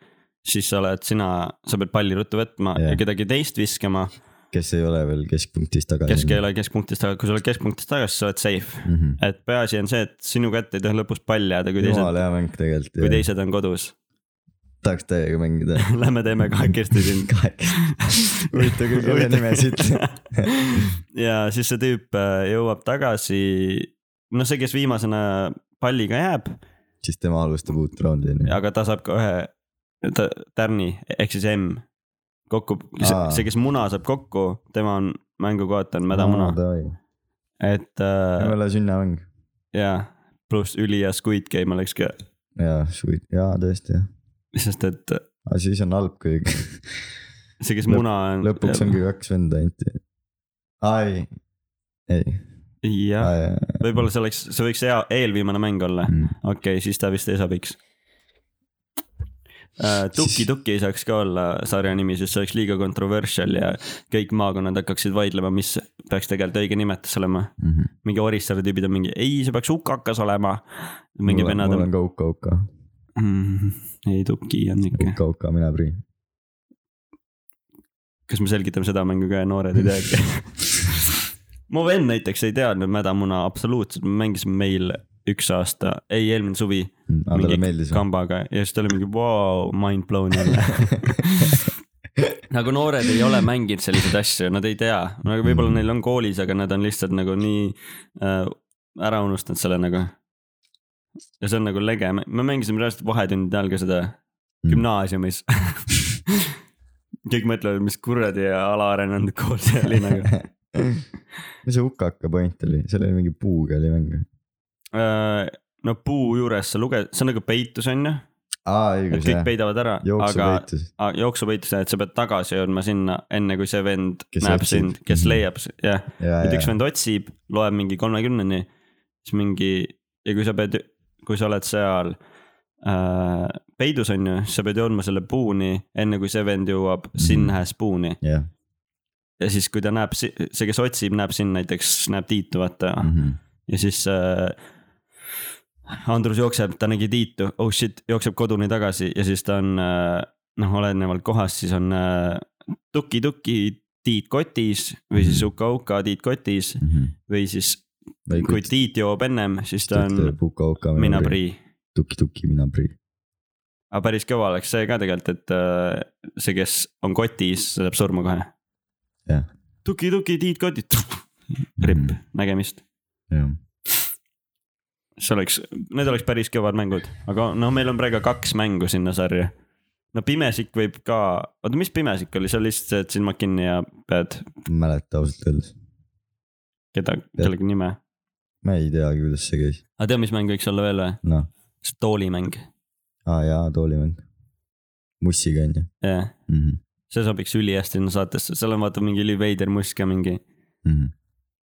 Speaker 2: siis sa oled sina , sa pead palli ruttu võtma yeah.
Speaker 1: Jah.
Speaker 2: ja kedagi teist viskama ,
Speaker 1: kes ei ole veel keskpunktis tagasi .
Speaker 2: kes ei ole keskpunktis taga , kui sa oled keskpunktis tagasi , sa oled safe .
Speaker 1: mm . -hmm.
Speaker 2: et peaasi on see , et sinu kätte ei tohi lõpus pall jääda , Äh, kui teised ,
Speaker 1: jumala hea mäng tegelikult .
Speaker 2: kui teised on kodus .
Speaker 1: tahaks täiega mängida .
Speaker 2: Lähme teeme kahekesti siin .
Speaker 1: kahekesi . huvitav küll , kelle nime siit .
Speaker 2: ja siis see tüüp äh, jõuab tagasi , noh , see , kes viimasena palliga jääb ,
Speaker 1: siis tema alustab uut raundi onju .
Speaker 2: aga ta saab ka ühe ta, tärni ehk siis M kokku ,
Speaker 1: Aa.
Speaker 2: see , kes muna saab kokku , tema on mängu kaotanud , mädamuna , et äh,
Speaker 1: jumala sünnamäng .
Speaker 2: ja pluss ülihea Squid Game oleks ka ,
Speaker 1: jaa , sweet , jaa tõesti jah .
Speaker 2: sest et
Speaker 1: aga siis on halb , kui
Speaker 2: see , kes
Speaker 1: Lõp-
Speaker 2: muna on .
Speaker 1: lõpuks ongi kaks venda ainult . ai , ei ,
Speaker 2: jah ,
Speaker 1: ai , Mhm.
Speaker 2: võib-olla see oleks , see võiks hea eelviimane mäng olla , okei okay, , siis ta vist ei saa piks . Tuki
Speaker 1: Siis-
Speaker 2: Tuki ei saaks ka olla sarja nimi , sest see oleks liiga controversial ja kõik maakonnad hakkaksid vaidlema , mis peaks tegelikult õige nimetus olema .
Speaker 1: Mhm.
Speaker 2: mingi Orissaare tüübid on mingi , ei , see peaks hukakas olema . mingi vennad
Speaker 1: mul
Speaker 2: on ,
Speaker 1: on ka Uka Uka ,
Speaker 2: ei Tuki on ikka ,
Speaker 1: Uka Uka , mina prii .
Speaker 2: kas me selgitame seda mängu ka ja noored ei teagi . mu vend näiteks ei teadnud mädamuna absoluutselt , me mängisime meil üks aasta , ei eelmine suvi
Speaker 1: Mm, aga talle
Speaker 2: Mingi
Speaker 1: meeldis või ?
Speaker 2: kambaga ja siis ta oli mingi vau wow, , mind blown jälle . nagu noored ei ole mänginud selliseid asju , nad ei tea , nagu võib-olla
Speaker 1: Mm.
Speaker 2: neil on koolis , aga nad on lihtsalt nagu nii äh, ära unustanud selle nagu . ja see on nagu lege , me mängisime reaalselt vahetundide ajal ka seda
Speaker 1: Mm.
Speaker 2: gümnaasiumis . kõik mõtlevad , mis kuradi alaarenenud kool see oli nagu .
Speaker 1: mis see Uka Uka point oli , seal oli mingi puuga oli mäng .
Speaker 2: Äh, no puu juures sa luge- , see on nagu peitus on ju ,
Speaker 1: aa ,
Speaker 2: et
Speaker 1: õigus
Speaker 2: kõik
Speaker 1: jah ,
Speaker 2: peidavad ära , aga
Speaker 1: jooksupeitus .
Speaker 2: Ah, jooksuvõitlusena , et sa pead tagasi jõudma sinna , enne kui see vend
Speaker 1: Kes
Speaker 2: kes näeb
Speaker 1: otsib.
Speaker 2: sind , kes
Speaker 1: Mhm.
Speaker 2: leiab , jah .
Speaker 1: ja ,
Speaker 2: et üks
Speaker 1: ja ,
Speaker 2: vend otsib , loeb mingi kolmekümneni , siis mingi ja kui sa pead , kui sa oled seal äh, peidus , on ju , siis sa pead jõudma selle puuni , enne kui see vend jõuab
Speaker 1: Mhm.
Speaker 2: sinna puuni .
Speaker 1: jah .
Speaker 2: ja siis , kui ta näeb , see , kes otsib , näeb sind näiteks , näeb Tiitu , vaata
Speaker 1: Mm. mhm,
Speaker 2: ja siis äh, Andrus jookseb , ta nägi Tiitu , oh shit , jookseb koduni tagasi ja siis ta on äh, noh , olenevalt kohast , siis on äh, tuki-tuki Tiit kotis või siis
Speaker 1: Mhm.
Speaker 2: uka-uka Tiit kotis või siis
Speaker 1: või
Speaker 2: kui Tiit joob ennem , siis ta on
Speaker 1: ütleb Uka Uka ,
Speaker 2: mina . prii .
Speaker 1: tuki-tuki , mina prii .
Speaker 2: aga päris kõva oleks see ka tegelikult , et äh, see , kes on kotis , see saab surma kohe
Speaker 1: Jah. .
Speaker 2: tuki-tuki Tiit kotis , ripp , nägemist .
Speaker 1: jah ,
Speaker 2: see oleks , need oleks päris kõvad mängud , aga noh , meil on praegu kaks mängu sinna sarja . no Pimesik võib ka , oota , mis Pimesik oli , see oli lihtsalt see , et silmad kinni ja pead
Speaker 1: ma ei mäleta ausalt öeldes .
Speaker 2: keda , kellegi nime .
Speaker 1: ma ei teagi , kuidas see käis ,
Speaker 2: aga tead , mis mäng võiks olla veel või ?
Speaker 1: noh ,
Speaker 2: toolimäng ,
Speaker 1: aa jaa , toolimäng . mussiga on ju
Speaker 2: jah .
Speaker 1: mm . -hmm.
Speaker 2: see sobiks ülihästi sinna saatesse , seal on vaata mingi üliveider must ka mingi ,
Speaker 1: Mm -hmm.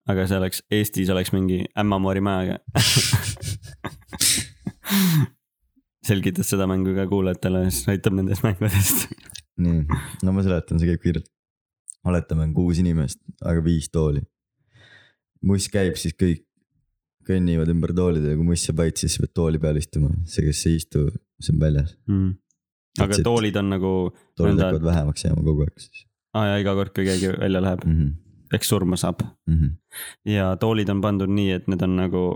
Speaker 2: aga see oleks , Eestis oleks mingi ämmamoori majaga .
Speaker 1: mhm.
Speaker 2: selgitad seda mängu ka kuulajatele , siis näitab nendest mängudest .
Speaker 1: nii , no ma seletan , see käib kiirelt . oletame , on kuus inimest , aga viis tooli . muss käib , siis kõik kõnnivad ümber toolide ja kui muss saab vait , siis sa pead tooli peal istuma , see , kes ei istu , see on väljas .
Speaker 2: Mm. aga toolid on nagu
Speaker 1: toolid
Speaker 2: nõnda-
Speaker 1: hakkavad vähemaks jääma kogu aeg siis
Speaker 2: aa ja iga kord , kui keegi välja läheb ,
Speaker 1: mm . -hmm.
Speaker 2: eks surma saab
Speaker 1: Mm -hmm.
Speaker 2: ja toolid on pandud nii , et need on nagu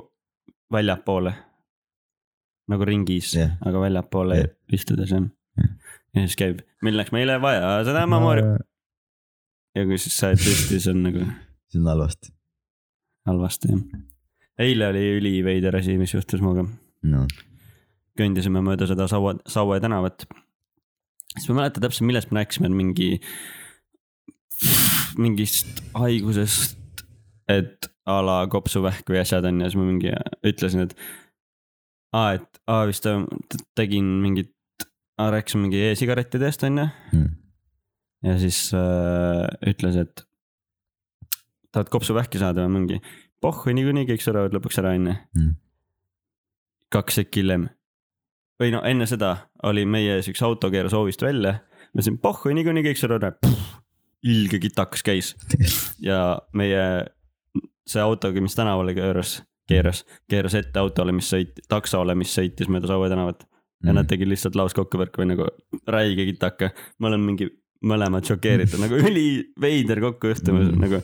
Speaker 2: väljapoole . nagu ringis
Speaker 1: Jah.
Speaker 2: yeah. , aga väljapoole
Speaker 1: Jah.
Speaker 2: yeah. istudes jah
Speaker 1: Jah.
Speaker 2: yeah. . ja siis käib , milleks meile vaja seda mamori ja kui siis sa oled püsti , siis on nagu
Speaker 1: see on halvasti ,
Speaker 2: halvasti jah . eile oli üliveider asi , mis juhtus minuga ,
Speaker 1: noh ,
Speaker 2: kõndisime mööda seda Saue , Saue tänavat . siis ma ei mäleta täpselt , millest me rääkisime , mingi , mingist haigusest , et a la kopsuvähk või asjad on ja siis ma mingi ütlesin , et . aa , et aa vist äh, t- tegin mingit , rääkisime mingi e-sigarettidest on ju
Speaker 1: Mm. .
Speaker 2: ja siis äh, ütles , et tahad kopsuvähki saada või mingi , pohhu niikuinii kõik surevad lõpuks ära on ju
Speaker 1: Mm. .
Speaker 2: kaks sekki hiljem või no enne seda oli meie ees üks auto keeras hoovist välja , ma ütlesin pohhu , niikuinii kõik surevad ära . ilge kitakas käis ja meie see autoga, mis tänavale keeras, keeras, keeras ette autole, mis sõit-, taksole, mis sõitis mööda Saue tänavat. ja mm.
Speaker 1: Mhm.
Speaker 2: nad tegid lihtsalt lauskokkupõrku või nagu räige kitaka, me oleme mingi mõlemad šokeeritud nagu üliveider kokkujuhtumas mm. nagu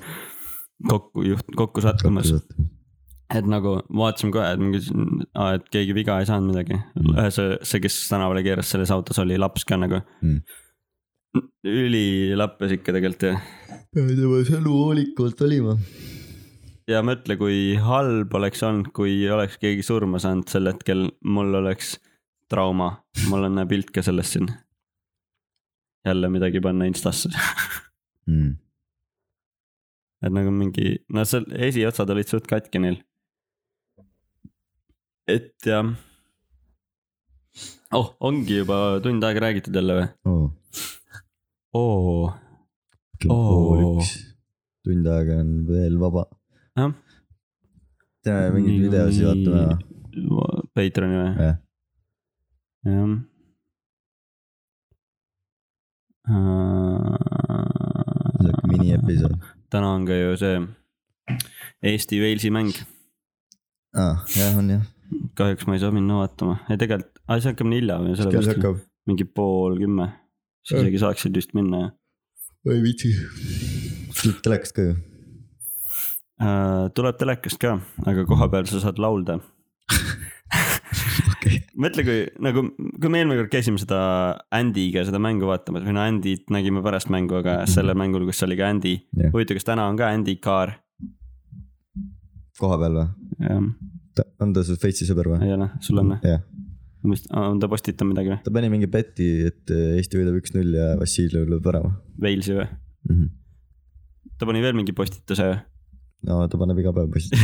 Speaker 2: kokku juht-, kokku sattumas. et nagu vaatasime kohe, et mingi, et keegi viga ei saanud midagi mm., see, see, kes tänavale keeras, selles autos oli laps ka nagu mm.. ülilappes ikka tegelikult jah.
Speaker 1: pead juba sõnuhoolikult olima
Speaker 2: ja mõtle, kui halb oleks olnud, kui oleks keegi surma saanud sel hetkel, mul oleks trauma, mul on pilt ka sellest siin. jälle midagi panna instasse
Speaker 1: Mhm.
Speaker 2: mm.. et nagu mingi, no seal esiotsad olid suht katki neil. et jah. oh, ongi juba tund aega räägitud jälle või
Speaker 1: oh.?
Speaker 2: oo.
Speaker 1: kell pool üks, tund aega on veel vaba
Speaker 2: jah.
Speaker 1: teeme mingeid videosid vaatame või?
Speaker 2: Patreoni või? jah.
Speaker 1: sihuke miniepisood.
Speaker 2: täna on ka ju see Eesti-Walesi mäng.
Speaker 1: aa, jah on jah.
Speaker 2: kahjuks ma ei saa minna vaatama, ei tegelikult, aa see hakkab nii hilja või
Speaker 1: sellepärast. kell hakkab?
Speaker 2: mingi pool kümme, siis isegi saaksid vist minna ja.
Speaker 1: ei viitsi. telekast ka ju
Speaker 2: Äh, tuleb telekast ka, aga kohapeal sa saad laulda okay.. mõtle, kui nagu, kui me eelmine kord käisime seda Andy'ga seda mängu vaatamas või no Andy't nägime pärast mängu, aga sellel mängul, kus oli ka Andy yeah.. huvitav, kas täna on ka Andy Kaar?
Speaker 1: kohapeal või?
Speaker 2: jah.
Speaker 1: on ta su Facebooki sõber või?
Speaker 2: ei ole, sul on või?
Speaker 1: jah
Speaker 2: ma vist, on ta postitanud midagi või?
Speaker 1: ta pani mingi beti, et eh, Eesti võidab üks-null ja Vassiljev lööb värava.
Speaker 2: Walesi või
Speaker 1: mm? -hmm.
Speaker 2: ta pani veel mingi postituse või?
Speaker 1: no ta paneb iga päev posti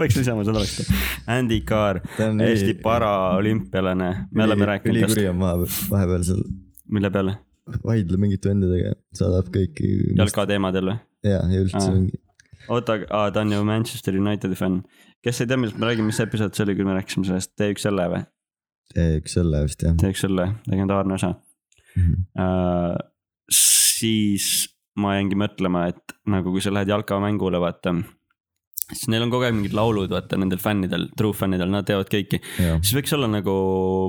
Speaker 2: peaks lisama seda oleks. Andy Kaar, Eesti paraolümpialane, me oleme rääkinud.
Speaker 1: ülikuri on vahepeal, vahepeal seal.
Speaker 2: mille peale?
Speaker 1: vaidleb mingite vendadega, saadab kõiki.
Speaker 2: jalka teemadel või?
Speaker 1: ja, ja üldse Aa. mingi.
Speaker 2: oota, ta on ju Manchester Unitedi fänn. kes ei tea, millest me räägime, mis episood see oli, kui me rääkisime sellest T1L-e või?
Speaker 1: T1L-e vist jah.
Speaker 2: T1L-e, legendaarne osa mm. -hmm. Uh, siis ma jäingi mõtlema, et nagu kui sa lähed jalkamängule, vaata. siis neil on kogu aeg mingid laulud, vaata nendel fännidel, true fännidel, nad teavad kõiki. siis võiks olla nagu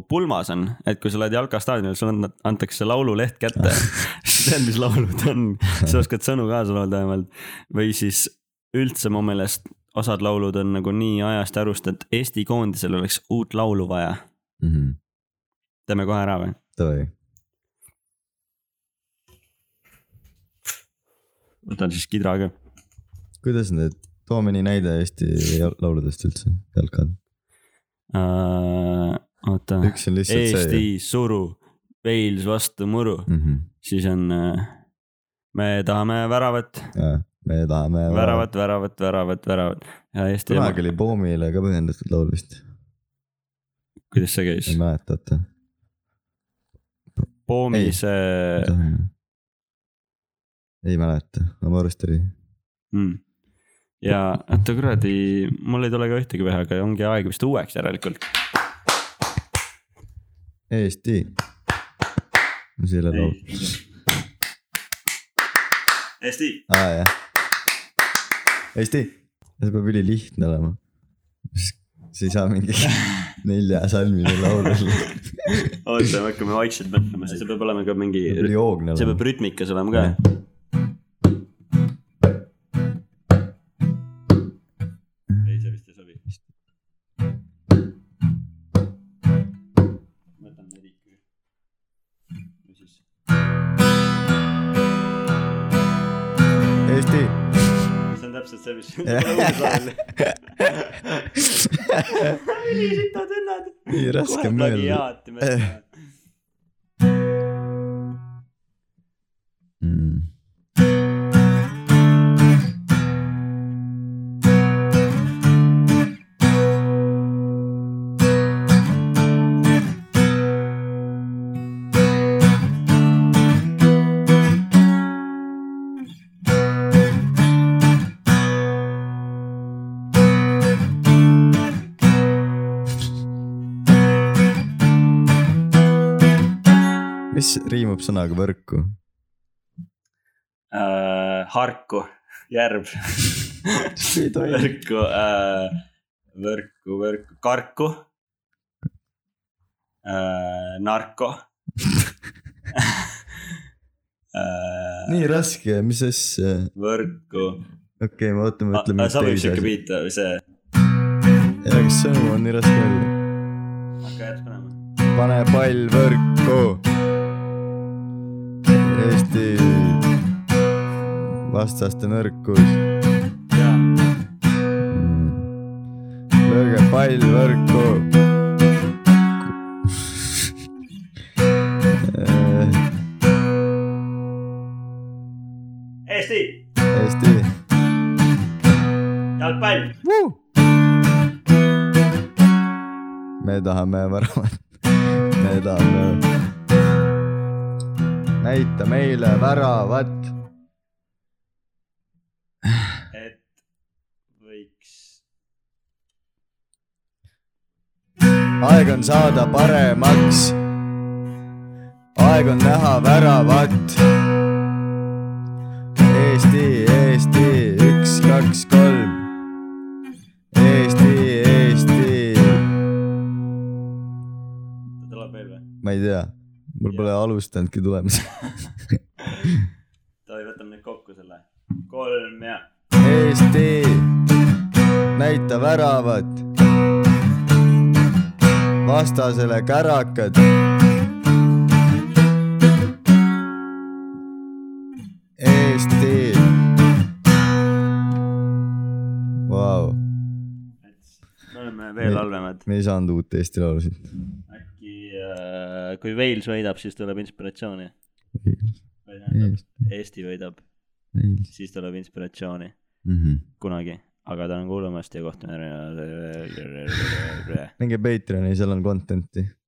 Speaker 2: pulmas on, et kui sa lähed jalkastaadionile, sulle antakse laululeht kätte siis tead, mis laulud on, sa oskad sõnu kaasa laulda vähemalt. või siis üldse mu meelest osad laulud on nagu nii ajast arust, et Eesti koondisel oleks uut laulu vaja
Speaker 1: mm. -hmm.
Speaker 2: teeme kohe ära või?
Speaker 1: Davai
Speaker 2: võtan siis kidra ka.
Speaker 1: kuidas need, too mõni näide Eesti lauludest üldse, jalkad
Speaker 2: uh,. oota, Eesti see, suru, Wales vastu muru mm,
Speaker 1: Mhm.
Speaker 2: -hmm. siis on uh, me tahame väravat.
Speaker 1: me tahame
Speaker 2: väravat, väravat, väravat, väravat ja Eesti.
Speaker 1: kunagi oli Poomile ka põhjendatud laul vist.
Speaker 2: kuidas see käis?
Speaker 1: ei mäleta, oota.
Speaker 2: Äh. Poomi see
Speaker 1: ei mäleta, oma arust oli
Speaker 2: mm.. ja oota kuradi, mul ei tule ka ühtegi pähe, aga ongi aeg vist uueks järelikult.
Speaker 1: Eesti. mis selle laul?
Speaker 2: Eesti.
Speaker 1: aa ah, jah. Eesti, see peab ülilihtne olema. sa ei saa mingi nelja salmide laulu
Speaker 2: oota, me hakkame vaikselt mõtlema, see peab olema ka mingi. see peab rütmikas olema ka ja.
Speaker 1: ülisitad vennad. nii raske on mõelda. Mm. mis riimub sõnaga võrku?
Speaker 2: äh, Harku , Järv
Speaker 1: See ei toimi.
Speaker 2: Võrku äh, , Võrku , Võrku , Karku äh, . Narko äh, .
Speaker 1: nii raske , mis asja ,
Speaker 2: Võrku .
Speaker 1: okei okay, , me ootame ,
Speaker 2: Ah,
Speaker 1: ütleme .
Speaker 2: sobib siuke . beat või see ?
Speaker 1: jaa , kas see on nii raske öelda ?
Speaker 2: hakka järjest panema .
Speaker 1: pane pall võrku . Eesti vastaste nõrkus .
Speaker 2: jaa ,
Speaker 1: lööge pall võrku . Äh,
Speaker 2: Eesti
Speaker 1: Eesti .
Speaker 2: jalgpall .
Speaker 1: me tahame väravat , me tahame . näita meile väravat .
Speaker 2: et võiks .
Speaker 1: aeg on saada paremaks . aeg on näha väravat . Eesti , Eesti , üks , kaks , kolm . Eesti , Eesti ,
Speaker 2: tuleb veel või ?
Speaker 1: ma ei tea , mul pole alustanudki tulemas .
Speaker 2: Davai , võtame nüüd kokku selle . kolm ja .
Speaker 1: Eesti , näita väravat . vastasele kärakad . Eesti . Vau ,
Speaker 2: me oleme veel
Speaker 1: Nii.
Speaker 2: halvemad .
Speaker 1: me ei saanud uut Eesti laulu siit .
Speaker 2: äkki äh, , kui Wales võidab , siis tuleb inspiratsiooni . või tähendab ,
Speaker 1: Wales.
Speaker 2: Eesti võidab ,
Speaker 1: Neils
Speaker 2: siis tuleb inspiratsiooni .
Speaker 1: mm -hmm. .
Speaker 2: kunagi , aga tänan kuulamast ja kohtume .
Speaker 1: minge Patreoni , seal on content'i .